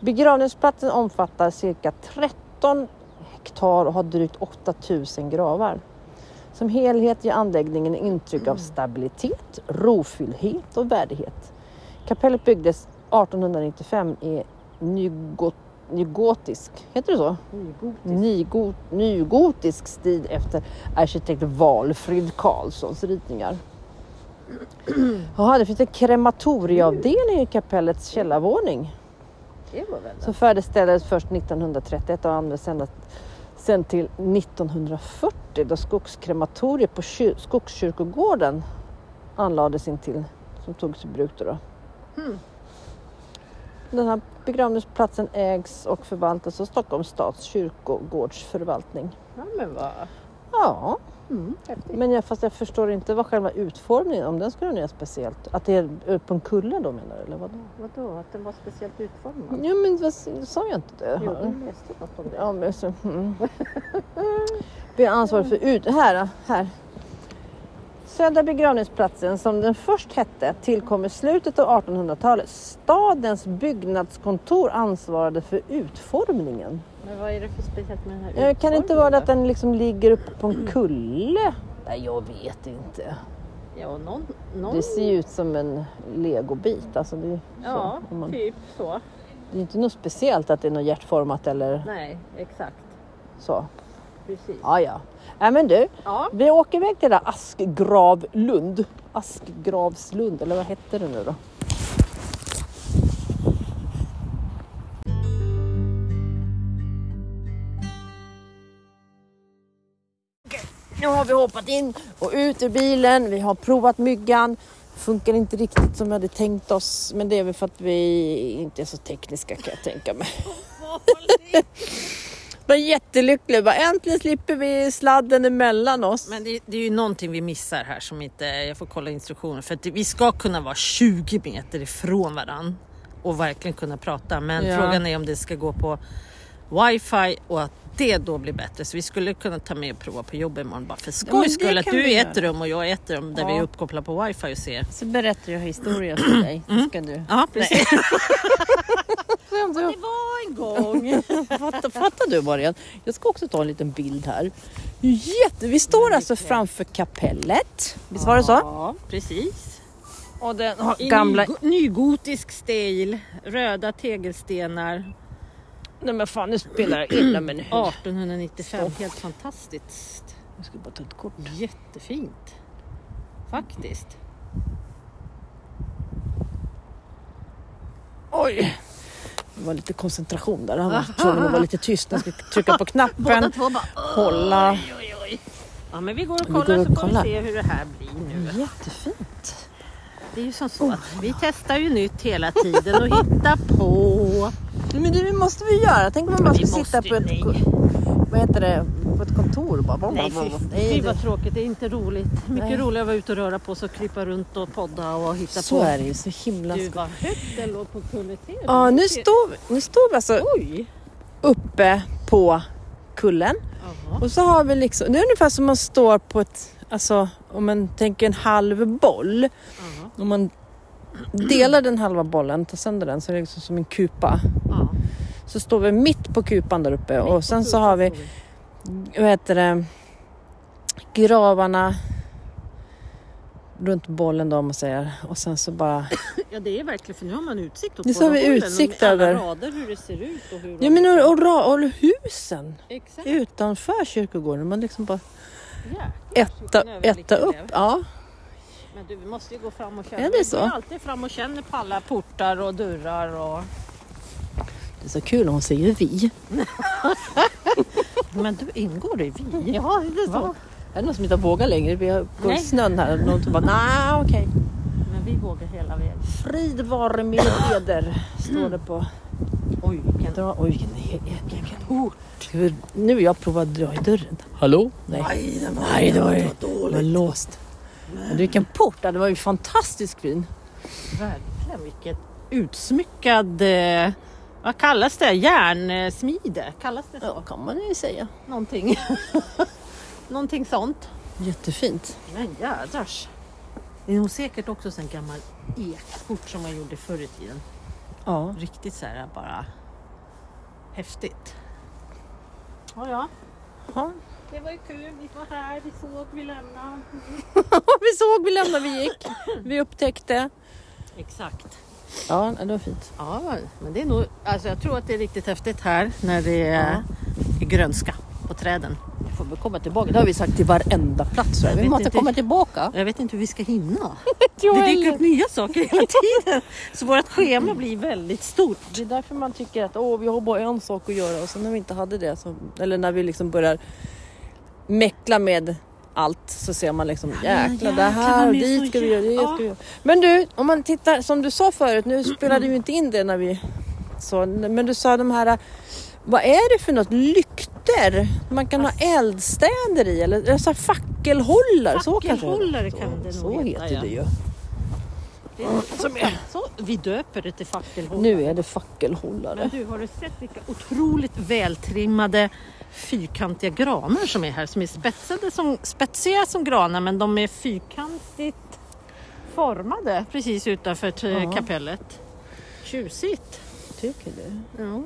Speaker 3: Begravningsplatsen omfattar cirka 13 hektar och har drygt 8000 gravar. Som helhet ger anläggningen intryck av stabilitet, rofylldhet och värdighet. Kapellet byggdes 1895 i Nygot- nygotisk, heter det så?
Speaker 4: Nygotisk.
Speaker 3: Nygo, nygotisk stil efter arkitekt Valfrid Karlssons ritningar. Jaha, det finns en krematorieavdelning i kapellets källarvåning
Speaker 4: Det var väl
Speaker 3: som färdigställdes först 1931 och användes ända sedan till 1940 då skogskrematoriet på kyr- Skogskyrkogården anlades intill som togs i bruk. Då då.
Speaker 4: Hmm.
Speaker 3: Den här begravningsplatsen ägs och förvaltas av Stockholms stads kyrkogårdsförvaltning.
Speaker 4: Ja men vad Mm,
Speaker 3: Ja,
Speaker 4: häftigt.
Speaker 3: men jag, fast jag förstår inte vad själva utformningen, om den skulle vara speciellt, att det är upp på en kulle då menar du? Eller vadå?
Speaker 4: Vadå, att den var speciellt utformad?
Speaker 3: Jo men vad, sa jag inte det?
Speaker 4: Jo, jag läste något om det.
Speaker 3: Ja, men så, mm. Vi är ansvariga för ut... Här, här. Södra begravningsplatsen som den först hette tillkom i slutet av 1800-talet. Stadens byggnadskontor ansvarade för utformningen.
Speaker 4: Men vad är det för speciellt med den här
Speaker 3: Eh, Kan det inte vara det att
Speaker 4: utformningen
Speaker 3: den liksom ligger uppe på en kulle? Nej, jag vet inte.
Speaker 4: då? Ja, någon... någon...
Speaker 3: Det ser ju ut som en legobit. Alltså det, är ju så.
Speaker 4: Ja,
Speaker 3: Om man,
Speaker 4: typ så.
Speaker 3: det är inte något speciellt att det är något hjärtformat eller
Speaker 4: Nej, exakt.
Speaker 3: så.
Speaker 4: Precis.
Speaker 3: Ja, ja. Nej, men du.
Speaker 4: Ja,
Speaker 3: Vi åker iväg till det där Askgravlund. Askgravslund, eller vad hette det nu då? Nu har vi hoppat in och ut ur bilen. Vi har provat myggan. Funkar inte riktigt som vi hade tänkt oss, men det är väl för att vi inte är så tekniska kan jag tänka mig. Jag var jättelycklig. Bara, äntligen slipper vi sladden emellan oss.
Speaker 2: Men det, det är ju någonting vi missar här som inte, jag får kolla instruktioner för att vi ska kunna vara 20 meter ifrån varann och verkligen kunna prata. Men
Speaker 3: Ja.
Speaker 2: frågan är om det ska gå på wifi och att det då blir bättre. Så vi skulle kunna ta med och prova på jobb imorgon bara för
Speaker 3: men det
Speaker 2: skojs skull. Att
Speaker 3: kan
Speaker 2: du är
Speaker 3: vi
Speaker 2: i
Speaker 3: göra.
Speaker 2: ett rum och jag är i ett rum där vi är uppkopplade på wifi och ser.
Speaker 3: Så berättar jag historier för dig. Så ska du...
Speaker 2: Ja, precis.
Speaker 3: Det var en gång. fattar, fattar du Marianne? Jag ska också ta en liten bild här. Jätte... Vi står alltså framför kapellet. Visst var det så?
Speaker 2: Ja, precis.
Speaker 3: Och den har
Speaker 2: I
Speaker 3: gamla...
Speaker 2: nygo- nygotisk stil, röda tegelstenar,
Speaker 3: Nej men fan nu spelar jag illa men nu.
Speaker 2: 1895. Helt fantastiskt.
Speaker 3: Jag ska bara ta ett kort.
Speaker 2: Jättefint. Faktiskt.
Speaker 3: Oj! Det var lite koncentration där. Han var tvungen att vara lite tyst. Jag ska trycka på knappen. Kolla.
Speaker 2: Ja men vi går och
Speaker 3: Vi
Speaker 2: kollar
Speaker 3: går och
Speaker 2: så får
Speaker 3: kollar.
Speaker 2: vi se hur det här blir nu.
Speaker 3: Jättefint. Oh.
Speaker 2: Det är ju som så att vi testar ju nytt hela tiden och hittar på.
Speaker 3: Nej, Men det måste vi göra. Tänk om man bara
Speaker 2: vi
Speaker 3: skulle sitta
Speaker 2: måste
Speaker 3: på
Speaker 2: ju,
Speaker 3: ett,
Speaker 2: nej.
Speaker 3: ko- vad heter det? på ett kontor och bara...
Speaker 2: Nej fy fy,
Speaker 3: det-
Speaker 2: vad tråkigt, det är inte roligt. Mycket roligare att vara ute och röra på sig och krypa runt och podda och hitta
Speaker 3: Så
Speaker 2: på.
Speaker 3: är det ju, så himla
Speaker 2: Du
Speaker 3: skoj.
Speaker 2: vad högt det låg på Kulleteden.
Speaker 3: Ja, nu står, vi- nu står vi alltså
Speaker 2: Oj!
Speaker 3: uppe på kullen och så har vi liksom, det är ungefär som man står på ett, alltså om man tänker en halv boll. Om man delar den halva bollen, tar sönder den så är det liksom som en kupa.
Speaker 2: Ja.
Speaker 3: Så står vi mitt på kupan där uppe och sen så har vi, vad heter det, gravarna runt bollen då om man säger och sen så bara
Speaker 2: Ja det är verkligen, för nu har man utsikt åt
Speaker 3: Nu
Speaker 2: båda
Speaker 3: så har vi
Speaker 2: hållen och
Speaker 3: utsikt
Speaker 2: alla
Speaker 3: över.
Speaker 2: rader hur det ser ut och hur
Speaker 3: Ja men och, och, ra- och husen
Speaker 2: Exakt.
Speaker 3: utanför kyrkogården. Man liksom bara
Speaker 2: Jäklar,
Speaker 3: etta,
Speaker 2: vilken överblick
Speaker 3: etta
Speaker 2: det
Speaker 3: upp.
Speaker 2: blev.
Speaker 3: Ja.
Speaker 2: Men du, vi måste ju gå fram och känna.
Speaker 3: Är det
Speaker 2: Vi
Speaker 3: så?
Speaker 2: går alltid fram och känner på alla portar och dörrar och...
Speaker 3: Det är så kul hon säger vi.
Speaker 2: Men du, ingår i vi?
Speaker 3: Ja, det är så. Är det någon som inte vågar längre? Vi har går i
Speaker 2: Nej.
Speaker 3: snön här. Någon som bara, nej okej.
Speaker 2: Men vi vågar hela vägen.
Speaker 3: Frid vare min heder, står det på.
Speaker 2: Oj, vilken...
Speaker 3: Dra, Mm. oj, nej, vilken ort. Ska vi- Nu har jag provat att dra i dörren. Hallå? Nej, nej, det var, det var, låst. Men du, vilken port, Ja, det var ju fantastiskt fin.
Speaker 2: Verkligen, vilket utsmyckad... Eh, vad kallas det? Järnsmide? Kallas det så?
Speaker 3: Ja, kan man ju säga.
Speaker 2: Någonting. Någonting sånt.
Speaker 3: Jättefint.
Speaker 2: Men jädrars. Det är nog säkert också en gammal ekport som man gjorde förr i tiden.
Speaker 3: Ja.
Speaker 2: Riktigt så här bara häftigt. Ja, ja.
Speaker 3: Ja.
Speaker 2: Det var ju kul. Vi var här, vi såg, vi lämnade.
Speaker 3: vi såg, vi lämnade, vi gick. Vi upptäckte.
Speaker 2: Exakt.
Speaker 3: Ja, det var fint.
Speaker 2: Ja, men det är nog, alltså jag tror att det är riktigt häftigt här när det är, är grönska på träden.
Speaker 3: Vi får väl komma tillbaka. Det har vi sagt till varenda plats.
Speaker 2: Jag
Speaker 3: Vi
Speaker 2: vet
Speaker 3: måste
Speaker 2: inte.
Speaker 3: komma tillbaka.
Speaker 2: Jag vet inte hur vi ska hinna.
Speaker 3: jag
Speaker 2: Det dyker
Speaker 3: heller.
Speaker 2: upp nya saker hela tiden. Så vårt schema blir väldigt stort.
Speaker 3: Det är därför man tycker att åh, vi har bara en sak att göra och sen när vi inte hade det, så, eller när vi liksom börjar mäckla med allt så ser man liksom jäklar det här och
Speaker 2: de är så
Speaker 3: dit ska vi göra, det
Speaker 2: jä-
Speaker 3: ska vi göra. Men du, om man tittar som du sa förut, nu spelade ju inte in det när vi så, men du sa de här, vad är det för något? Lykter? Man kan ha eldstäder i eller, eller så här fackelhållare? Så kanske det heter.
Speaker 2: Fackelhållare kan det
Speaker 3: så,
Speaker 2: nog
Speaker 3: så
Speaker 2: heta,
Speaker 3: heter
Speaker 2: ja.
Speaker 3: det ju.
Speaker 2: Så, vi döper det till fackelhål.
Speaker 3: Nu är det fackelhållare.
Speaker 2: Men du, har du sett vilka otroligt vältrimmade fyrkantiga granar som är här? Som är spetsade som, spetsiga som granar men de är fyrkantigt formade precis utanför t- kapellet. Tjusigt!
Speaker 3: Tycker du?
Speaker 2: Ja.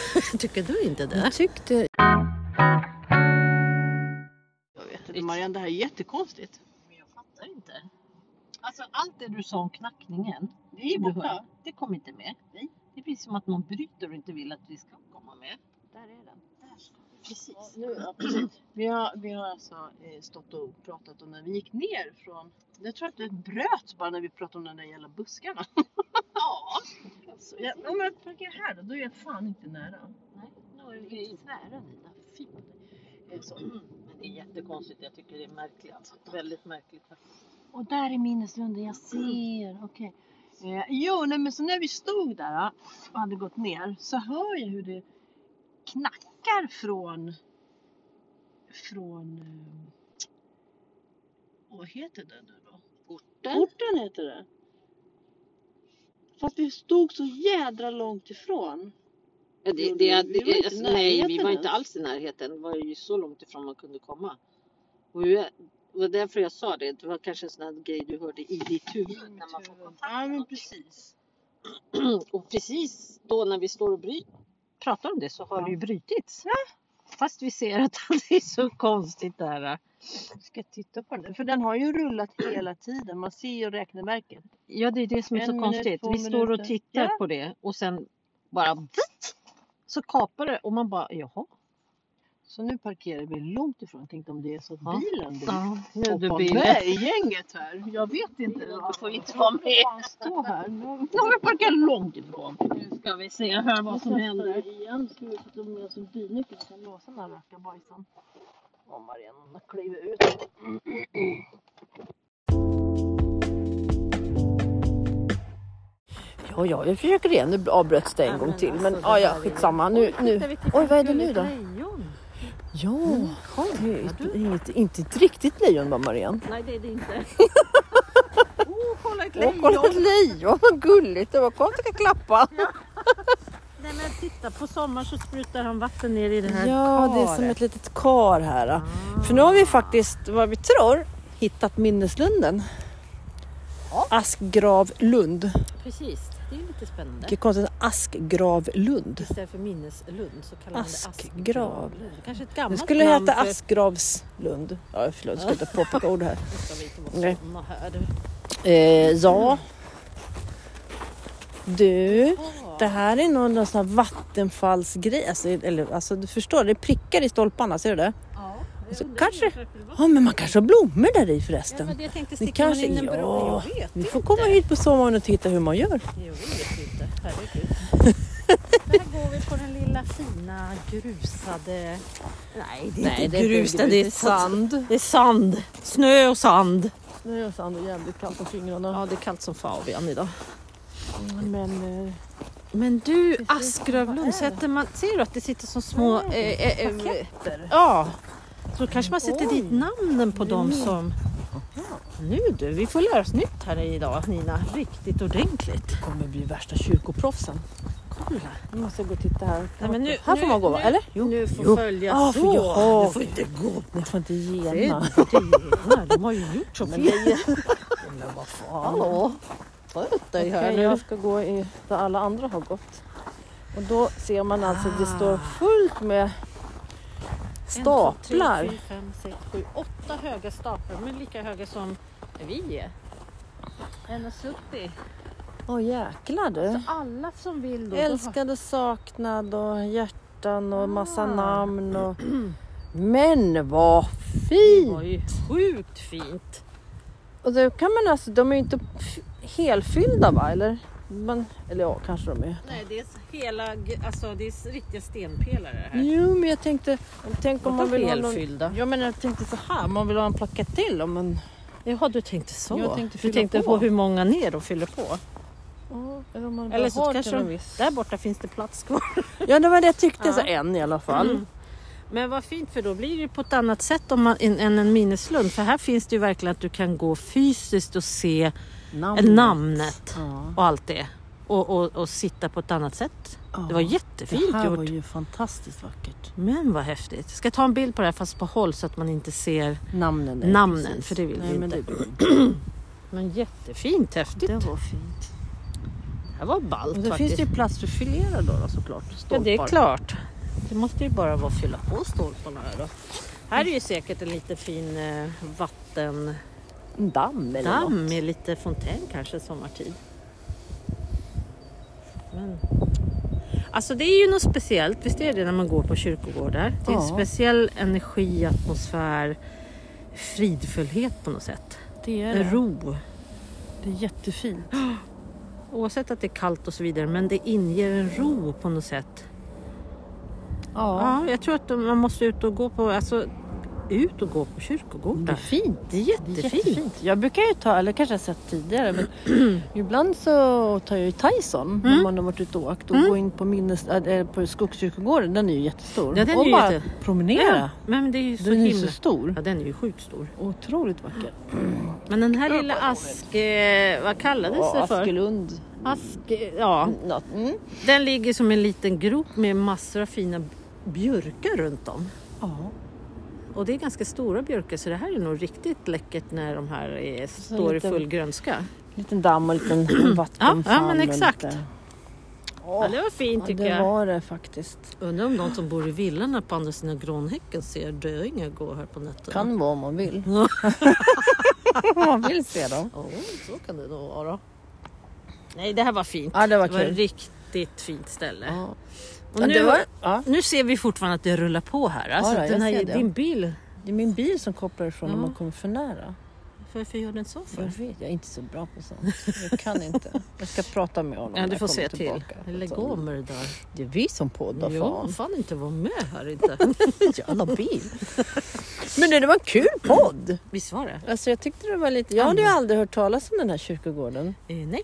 Speaker 2: Tycker du inte det?
Speaker 3: Jag tyckte
Speaker 6: Jag vet inte Marianne, det här är jättekonstigt.
Speaker 7: fattar inte. Alltså allt det du sa om knackningen. Det är borta. Det kom inte med. Det blir som att någon bryter och inte vill att vi ska komma med. Där är den. Där ska vi. Precis.
Speaker 6: Nu, ja, precis. vi, har, vi har alltså eh, stått och pratat om när vi gick ner från... Jag tror att det bröt bara när vi pratade om de där jävla buskarna.
Speaker 7: Ja.
Speaker 6: Så, ja, om jag tänker här då, då är jag fan inte nära.
Speaker 7: Nej, nu är vi tvära Nina. Fy på dig. Det är så.
Speaker 6: Mm.
Speaker 7: Men det är jättekonstigt. Jag tycker det är märkligt. alltså. Väldigt märkligt.
Speaker 6: Och där är minneslunden, jag ser. Okej. Eh, jo, nej, men så när vi stod där ah, och hade gått ner så hör jag hur det knackar från... Från... Eh, vad heter det nu då? Orten? Orten heter det. Fast vi stod så jädra långt ifrån.
Speaker 7: Ja,
Speaker 6: Jo,
Speaker 7: det,
Speaker 6: men
Speaker 7: det, det, alltså,
Speaker 6: vi var inte i
Speaker 7: nej, vi
Speaker 6: närheten
Speaker 7: var inte
Speaker 6: ens.
Speaker 7: alls i närheten. Det var ju så långt ifrån man kunde komma. Och jag, det var därför jag sa det. Det var kanske en sån här grej du hörde i ditt huvud när man får kontakt.
Speaker 6: Ja, men precis.
Speaker 7: Och precis då när vi står och bry, pratar om det så har det ju brutits. Fast vi ser att det är så konstigt det här.
Speaker 6: Ska titta på den. För den har ju rullat hela tiden. Man ser ju räknemärket.
Speaker 7: Ja, det är det som är
Speaker 6: En
Speaker 7: så
Speaker 6: minut,
Speaker 7: konstigt.
Speaker 6: två
Speaker 7: Vi står och
Speaker 6: minuter.
Speaker 7: tittar
Speaker 6: Ja.
Speaker 7: på det och sen bara vitt, så kapar det och man bara jaha.
Speaker 6: Så nu parkerar vi långt ifrån. Tänkte om det är så att
Speaker 7: Ja.
Speaker 6: bilen blir
Speaker 7: Nu är det
Speaker 6: Hoppa
Speaker 7: bilen.
Speaker 6: med i gänget här. Jag vet inte.
Speaker 7: Bilen
Speaker 6: vad-
Speaker 7: får inte vara med.
Speaker 6: fan stå här. Nu har vi
Speaker 7: Nu har vi parkerat långt ifrån. Nu ska vi se här vad som händer.
Speaker 6: igen. Ska vi få ta med oss en bilnyckel så kan vi låsa den här rackabajsen. Åh Marianne, hon har klivit ut.
Speaker 3: Ja, ja, jag försöker igen. Nu avbröts det en gång till. Men ja, ja, skitsamma. Nu, nu. Mm. Oj, vad är det nu då? Ja, det är ett- inget, inte ett riktigt lejon va Marianne?
Speaker 4: Nej, det är det inte. oh, kolla ett
Speaker 3: Åh,
Speaker 4: lejon!
Speaker 3: kolla ett lejon, vad gulligt det var. Kom du kan klappa.
Speaker 2: Nej, men titta, på sommaren så sprutar han vatten ner i det här
Speaker 3: Ja, det är som
Speaker 2: karet.
Speaker 3: ett litet kar här. då. För nu har vi faktiskt, vad vi tror, hittat minneslunden. Askgravlund.
Speaker 2: Precis, det är lite spännande.
Speaker 3: Vilket konstigt, askgravlund.
Speaker 2: Istället för minneslund så kallar man det
Speaker 3: Askgrav.
Speaker 2: askgravlund. Kanske ett
Speaker 3: Det
Speaker 2: gammalt
Speaker 3: skulle
Speaker 2: namn
Speaker 3: heta
Speaker 2: för-
Speaker 3: Askgravslund. Ja, förlåt, jag ska inte påpeka ord här.
Speaker 2: Nu ska vi inte vara
Speaker 3: Nej.
Speaker 2: såna här.
Speaker 3: Eh, ja. Du, det här är nog någon sån här vattenfallsgrej. Alltså, eller, alltså, du förstår, det prickar i stolparna, ser du det?
Speaker 4: Ja, jag
Speaker 3: Så
Speaker 4: undrar
Speaker 3: alltså, kanske-
Speaker 4: varför det var-
Speaker 3: Ja, men man kanske har blommor där i
Speaker 4: Ja, men
Speaker 3: förresten.
Speaker 4: det jag tänkte
Speaker 3: Vi
Speaker 4: sticka
Speaker 3: kanske,
Speaker 4: in en bra.
Speaker 3: ja,
Speaker 4: Jag vet
Speaker 3: vi får komma hit på sommaren och titta hur man gör.
Speaker 4: Jo, vi vet inte. Herregud. Där går vi på den lilla fina grusade... Nej, det är
Speaker 2: Nej,
Speaker 4: inte
Speaker 2: det är
Speaker 4: grus.
Speaker 2: inte grus, det är sand. Det är sand. Snö och sand.
Speaker 3: Nu är det sand och jävligt kallt på fingrarna.
Speaker 2: Ja, det är kallt som favian idag.
Speaker 3: Men, eh,
Speaker 2: Men du, Askrövlund, sätter man, ser du att det sitter som små... Eh, eh, eh,
Speaker 3: Plaketter.
Speaker 2: ja, så kanske man sätter dit
Speaker 3: Oj.
Speaker 2: namnen på dem som... Nu du, vi får lära oss nytt här idag Nina, riktigt ordentligt.
Speaker 3: det kommer bli värsta kyrkoproffsen.
Speaker 2: Kolla.
Speaker 3: Nu måste jag gå och titta här.
Speaker 2: Nej, men nu-
Speaker 3: här får
Speaker 2: nu-
Speaker 3: man gå va?
Speaker 2: nu-
Speaker 3: Eller?
Speaker 2: Nu får
Speaker 3: Jo.
Speaker 2: följas
Speaker 3: Ah, för
Speaker 2: då.
Speaker 3: jaha.
Speaker 2: Du får inte gå.
Speaker 3: Jag får inte
Speaker 2: Det
Speaker 3: gena.
Speaker 2: är inte De har ju gjort så fel.
Speaker 3: Men vad fan.
Speaker 2: Hallå! Sköt dig här
Speaker 3: Okej,
Speaker 2: nu.
Speaker 3: jag ska gå i där alla andra har gått. Och då ser man alltså att det står
Speaker 4: Ah.
Speaker 3: fullt med
Speaker 2: En,
Speaker 3: staplar.
Speaker 2: två, tre, fyra, fem, sex, sju, åtta höga staplar. De är lika höga som vi är. 1,70.
Speaker 4: Åh jäklar du.
Speaker 2: Alla som vill Alltså, då.
Speaker 4: Älskad och saknad och hjärtan och massa
Speaker 2: Ah.
Speaker 4: namn. Och... Men vad
Speaker 2: Det var
Speaker 4: fint!
Speaker 2: ju sjukt fint.
Speaker 4: Och då kan man alltså, de är ju inte f- helfyllda va? Eller, man, eller ja, kanske de är.
Speaker 2: Nej, det är hela, g- alltså det är s- riktiga stenpelare det här.
Speaker 4: Jo, men jag tänkte, tänk om man vill ha någon...
Speaker 2: helfyllda?
Speaker 4: Ja, men jag tänkte så här, man vill ha en plakett till om man...
Speaker 2: Jaha, du tänkte så.
Speaker 4: Jag tänkte
Speaker 2: du
Speaker 4: fylla
Speaker 2: tänkte på.
Speaker 4: på.
Speaker 2: hur många ner de fyller på.
Speaker 4: Eller, om man
Speaker 2: Eller så
Speaker 4: har
Speaker 2: kanske
Speaker 4: till
Speaker 2: de,
Speaker 4: någon viss.
Speaker 2: där borta finns det plats kvar.
Speaker 4: Ja, det var det jag tyckte, så en i alla fall.
Speaker 2: Men vad fint för då blir det på ett annat sätt om man, än än en minneslund. För här finns det ju verkligen att du kan gå fysiskt och se
Speaker 4: Namnet.
Speaker 2: namnet, namnet
Speaker 4: Ja.
Speaker 2: och allt det. Och, och, och sitta på ett annat sätt. Det
Speaker 4: Ja,
Speaker 2: var jättefint
Speaker 4: Det här
Speaker 2: gjort.
Speaker 4: var ju fantastiskt vackert.
Speaker 2: Men vad häftigt. Ska jag ta en bild på det här fast på håll så att man inte ser.
Speaker 4: Namnen.
Speaker 2: är Namnen, precis. för det vill
Speaker 4: Nej,
Speaker 2: vi
Speaker 4: men
Speaker 2: inte.
Speaker 4: Det,
Speaker 2: Men jättefint häftigt.
Speaker 4: det
Speaker 2: Det
Speaker 4: var fint.
Speaker 2: här var ballt
Speaker 4: Och då finns
Speaker 2: faktiskt.
Speaker 4: det ju plats för filera då, då såklart.
Speaker 2: ja, det är
Speaker 4: Stolpar.
Speaker 2: klart. Det måste ju bara vara att fylla på stolparna här då. Här är ju säkert en lite fin eh, vattendamm
Speaker 4: En damm eller något.
Speaker 2: med lite fontän kanske sommartid. Men. Alltså det är ju något speciellt, visst är det när man går på kyrkogårdar? Det är en
Speaker 4: Ja.
Speaker 2: speciell energi, atmosfär, fridfullhet på något sätt.
Speaker 4: Det är, det.
Speaker 2: Ro.
Speaker 4: det är jättefint.
Speaker 2: Oavsett att det är kallt och så vidare, men det inger en ro på något sätt.
Speaker 4: Ja.
Speaker 2: Ja, jag tror att man måste ut och gå på, alltså ut och gå på kyrkogårdar.
Speaker 4: Det är fint.
Speaker 2: Det är
Speaker 4: Det är
Speaker 2: jättefint.
Speaker 4: jättefint. Jag brukar ju ta, eller kanske jag sett tidigare, men ibland så tar jag ju Tyson när man har varit ute och åkt och går in på, minnes, äh, på Skogskyrkogården, den är ju jättestor.
Speaker 2: Ja, den
Speaker 4: och
Speaker 2: är ju
Speaker 4: bara
Speaker 2: jätte-
Speaker 4: promenera.
Speaker 2: Men det är ju så
Speaker 4: Den är ju
Speaker 2: himla...
Speaker 4: så stor.
Speaker 2: Ja, den är ju sjukt stor.
Speaker 4: Otroligt vacker.
Speaker 2: Men den här lilla ask... eh, Vad kallades
Speaker 4: Ja,
Speaker 2: det för?
Speaker 4: Askelund.
Speaker 2: Ask... eh, Ja,
Speaker 4: Något. Mm.
Speaker 2: den ligger som en liten grop med massor av fina björkar runt om.
Speaker 4: Ja.
Speaker 2: Och det är ganska stora björkar så det här är nog riktigt läckert när de här är, står
Speaker 4: lite-
Speaker 2: i full grönska.
Speaker 4: liten damm och en liten vattenfall.
Speaker 2: ja, men
Speaker 4: och
Speaker 2: exakt.
Speaker 4: lite-
Speaker 2: Ja, det var fint
Speaker 4: Ja,
Speaker 2: tycker
Speaker 4: det
Speaker 2: jag.
Speaker 4: var det faktiskt.
Speaker 2: Undrar om de som bor i villorna på andra sidan Granhäcken ser döingar gå här på nätterna.
Speaker 4: Kan vara om man vill. om man vill se dem.
Speaker 2: Ja, så kan det nog vara. Nej, det här var fint.
Speaker 4: Ja, det var
Speaker 2: Det var ett
Speaker 4: kul.
Speaker 2: riktigt fint ställe.
Speaker 4: Ja.
Speaker 2: Och
Speaker 4: Ja,
Speaker 2: nu,
Speaker 4: det var- ja.
Speaker 2: nu ser vi fortfarande att det rullar på här. Alltså,
Speaker 4: Ja, då, jag
Speaker 2: den här
Speaker 4: ser det.
Speaker 2: din bil,
Speaker 4: Det är min bil som kopplar ifrån om man kommer för nära.
Speaker 2: varför gör den så
Speaker 4: Jag
Speaker 2: för?
Speaker 4: vet, jag är inte så bra på sånt. Jag kan inte. Jag ska prata med honom
Speaker 2: Ja,
Speaker 4: när
Speaker 2: du
Speaker 4: jag
Speaker 2: får
Speaker 4: kommer
Speaker 2: se till.
Speaker 4: tillbaka. Alltså,
Speaker 2: Lägg av med det där.
Speaker 4: Det är vi som poddar
Speaker 2: Jo,
Speaker 4: fan.
Speaker 2: fan inte vara med här inte.
Speaker 4: Jävla bil. Men det var en kul podd.
Speaker 2: Visst var det?
Speaker 4: Alltså jag tyckte det var lite... Jag hade ju aldrig hört talas om den här kyrkogården.
Speaker 2: Eh, nej.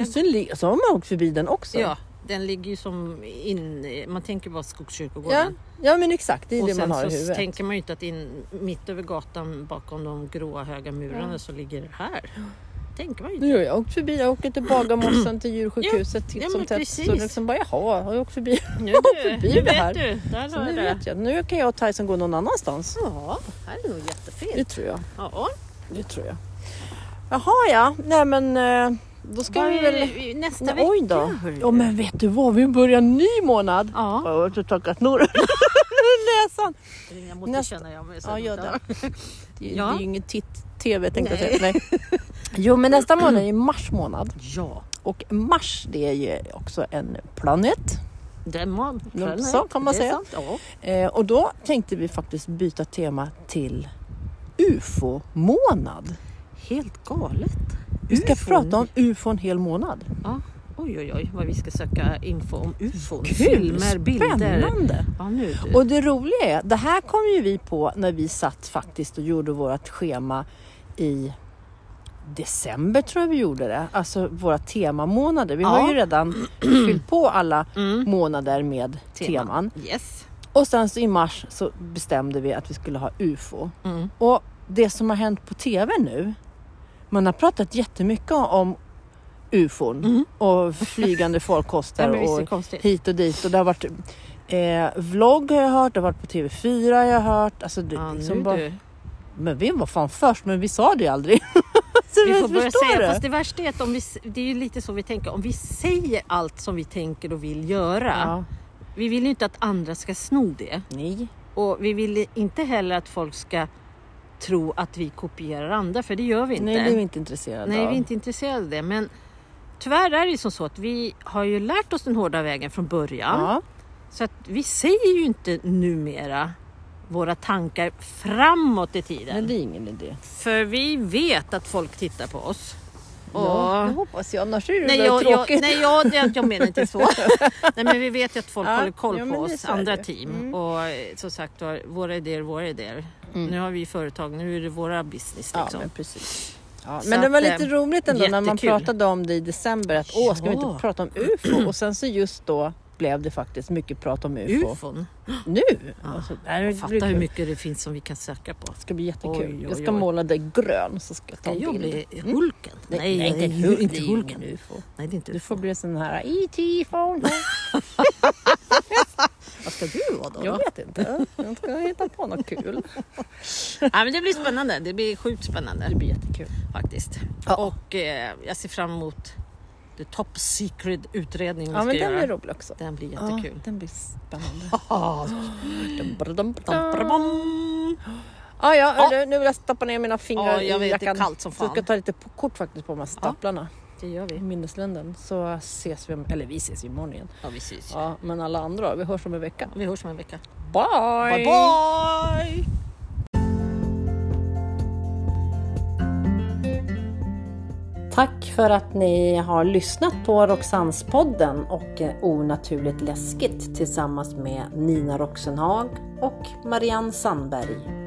Speaker 4: Och sen li- så har man åkt förbi den också.
Speaker 2: Ja, den ligger ju som in... Man tänker bara
Speaker 4: Ja,
Speaker 2: Skogskyrkogården.
Speaker 4: ja men exakt, det är
Speaker 2: Och
Speaker 4: det man
Speaker 2: sen
Speaker 4: har i
Speaker 2: så
Speaker 4: huvudet.
Speaker 2: tänker man ju inte att in, mitt över gatan bakom de gråa höga murarna så ligger det här. tänker man ju
Speaker 4: Nu
Speaker 2: inte.
Speaker 4: har jag åkt förbi, jag åker till Bagarmossen till djursjukhuset titt
Speaker 2: ja,
Speaker 4: som
Speaker 2: men
Speaker 4: tätt.
Speaker 2: precis.
Speaker 4: Så liksom bara jaha, har jag åkt förbi?
Speaker 2: Nu,
Speaker 4: förbi
Speaker 2: nu
Speaker 4: det
Speaker 2: vet
Speaker 4: här.
Speaker 2: du. Där
Speaker 4: Så
Speaker 2: har
Speaker 4: nu
Speaker 2: jag det.
Speaker 4: vet jag, nu kan jag och Tyson gå någon annanstans.
Speaker 2: Ja, här är nog jättefint.
Speaker 4: Det tror jag.
Speaker 2: Ja,
Speaker 4: Det tror jag. Jaha ja, nej men eh, då ska
Speaker 2: Vad
Speaker 4: vi
Speaker 2: är
Speaker 4: väl...
Speaker 2: det i- nästa
Speaker 4: Nej,
Speaker 2: vecka?
Speaker 4: oj då.
Speaker 2: hörru?
Speaker 4: Ja men vet du vad, vi börjar en ny månad.
Speaker 2: Ja,
Speaker 4: Jag har varit och torkat snoren ur näsan.
Speaker 2: jag måste
Speaker 4: Nästa-
Speaker 2: känna jag mig så
Speaker 4: Ja, gör
Speaker 2: där.
Speaker 4: det. Det är,
Speaker 2: Ja.
Speaker 4: det är ju inget titt-tv tänkte jag säga. Nej. Jo men nästa månad är mars månad.
Speaker 2: Ja,
Speaker 4: Och mars det är ju också en planet.
Speaker 2: den man.
Speaker 4: Ja,
Speaker 2: den
Speaker 4: så
Speaker 2: är-
Speaker 4: kan man
Speaker 2: det är
Speaker 4: säga.
Speaker 2: sant, Ja.
Speaker 4: Eh, och då tänkte vi faktiskt byta tema till UFO-månad.
Speaker 2: Helt galet.
Speaker 4: Vi ska
Speaker 2: UFO.
Speaker 4: prata om UFO en hel månad.
Speaker 2: Ja. Oj, oj, oj, vad vi ska söka info om ufon. Filmer,
Speaker 4: Kul!
Speaker 2: bilder.
Speaker 4: Spännande!
Speaker 2: Ja, nu du.
Speaker 4: Och det roliga är, det här kom ju vi på när vi satt faktiskt och gjorde vårt schema i december tror jag vi gjorde det. Alltså våra temamånader. Vi har ju redan fyllt på alla
Speaker 2: Mm.
Speaker 4: månader med teman.
Speaker 2: Yes.
Speaker 4: Och sen så i mars så bestämde vi att vi skulle ha UFO.
Speaker 2: Mm.
Speaker 4: Och det som har hänt på TV nu, man har pratat jättemycket om UFOn och flygande farkoster
Speaker 2: Mm. Ja, men visst är det
Speaker 4: och
Speaker 2: konstigt.
Speaker 4: hit och dit. Och det har varit eh, vlogg har jag hört, det har varit på TV4 har jag hört. Alltså, det,
Speaker 2: Ja, nu
Speaker 4: liksom bara,
Speaker 2: du.
Speaker 4: Men vi var fan först, men vi sa det ju aldrig. så
Speaker 2: Vi får börja
Speaker 4: förstår
Speaker 2: säga,
Speaker 4: du?
Speaker 2: fast det värsta är att om vi, s- det är ju lite så vi tänker, om vi säger allt som vi tänker och vill göra.
Speaker 4: Ja.
Speaker 2: Vi vill ju inte att andra ska sno det.
Speaker 4: Nej.
Speaker 2: Och vi vill inte heller att folk ska tro att vi kopierar andra, för det gör vi inte.
Speaker 4: Nej, det är vi inte intresserade
Speaker 2: Nej,
Speaker 4: av.
Speaker 2: vi är inte intresserade av det. Men Tyvärr är det ju som så att vi har ju lärt oss den hårda vägen från början.
Speaker 3: Ja.
Speaker 2: Så att vi säger ju inte numera våra tankar framåt i
Speaker 3: Men
Speaker 2: tiden.
Speaker 3: det är ingen idé.
Speaker 2: För vi vet att folk tittar på oss. Och...
Speaker 3: Ja, det hoppas jag. Annars är det
Speaker 2: Nej,
Speaker 3: väl
Speaker 2: jag, jag,
Speaker 3: tråkigt.
Speaker 2: nej jag, det, jag menar inte så. nej, men vi vet ju att folk
Speaker 3: Ja,
Speaker 2: håller koll
Speaker 3: ja,
Speaker 2: på
Speaker 3: men det är
Speaker 2: oss,
Speaker 3: så Mm. är
Speaker 2: andra
Speaker 3: det.
Speaker 2: team. Och eh, som sagt var, våra idéer, våra idéer. Nu har vi företag, nu är det våra business
Speaker 3: Mm. Ja,
Speaker 2: liksom.
Speaker 3: men precis. Ja,
Speaker 2: Så
Speaker 3: men det var
Speaker 2: att, eh,
Speaker 3: lite roligt ändå när man
Speaker 2: jättekul.
Speaker 3: pratade om det i december att åh, ska vi
Speaker 2: Ja.
Speaker 3: inte prata om UFO? Och sen så just då blev det faktiskt mycket prat om UFO.
Speaker 2: Ufon.
Speaker 3: Nu! Alltså, nej, det blir
Speaker 2: Fatta
Speaker 3: kul.
Speaker 2: hur mycket det finns som vi kan söka på.
Speaker 3: Det ska bli jättekul.
Speaker 2: Oj, oj,
Speaker 3: Jag ska
Speaker 2: oj.
Speaker 3: måla dig grön så ska jag ta
Speaker 2: Ska
Speaker 3: en
Speaker 2: jag
Speaker 3: bild.
Speaker 2: bli Hulken?
Speaker 3: Nej,
Speaker 2: Nej,
Speaker 3: nej,
Speaker 2: jag är
Speaker 3: inte
Speaker 2: ju
Speaker 3: Hulk,
Speaker 2: inte
Speaker 3: det är ju
Speaker 2: Hulken.
Speaker 3: ingen UFO.
Speaker 2: Nej, det är inte
Speaker 3: Du
Speaker 2: UFO.
Speaker 3: får bli sån här IT phone.
Speaker 2: Vad ska du vara då?
Speaker 3: jag vet inte. Jag ska hitta på något kul.
Speaker 2: Ja, men det blir spännande. Det blir sjukt spännande.
Speaker 3: Det blir jättekul.
Speaker 2: faktiskt. Och eh, jag ser fram emot the top secret utredning vi
Speaker 3: Ja,
Speaker 2: ska
Speaker 3: men den
Speaker 2: göra.
Speaker 3: blir rolig också.
Speaker 2: den blir
Speaker 3: Ja,
Speaker 2: jättekul.
Speaker 3: den blir spännande.
Speaker 2: Dum, bra, bom.
Speaker 3: Ah, ja, hörru, Nu vill jag stoppa ner mina fingrar
Speaker 2: Ja, jag
Speaker 3: i
Speaker 2: vet, det är
Speaker 3: jackan.
Speaker 2: kallt som
Speaker 3: Så jag ska
Speaker 2: fan.
Speaker 3: ta lite på- kort faktiskt på de här staplarna
Speaker 2: Det gör
Speaker 3: i
Speaker 2: vi.
Speaker 3: minneslunden. Så ses vi, om- eller vi ses ju imorgon igen.
Speaker 2: Ja, vi syns.
Speaker 3: Ja, men alla andra, vi hörs om en vecka.
Speaker 2: Vi hörs om en vecka.
Speaker 3: Bye!
Speaker 2: Bye bye!
Speaker 4: Tack för att ni har lyssnat på Roxannespodden och eh, Onaturligt läskigt tillsammans med Nina Roxenhag och Marianne Sandberg.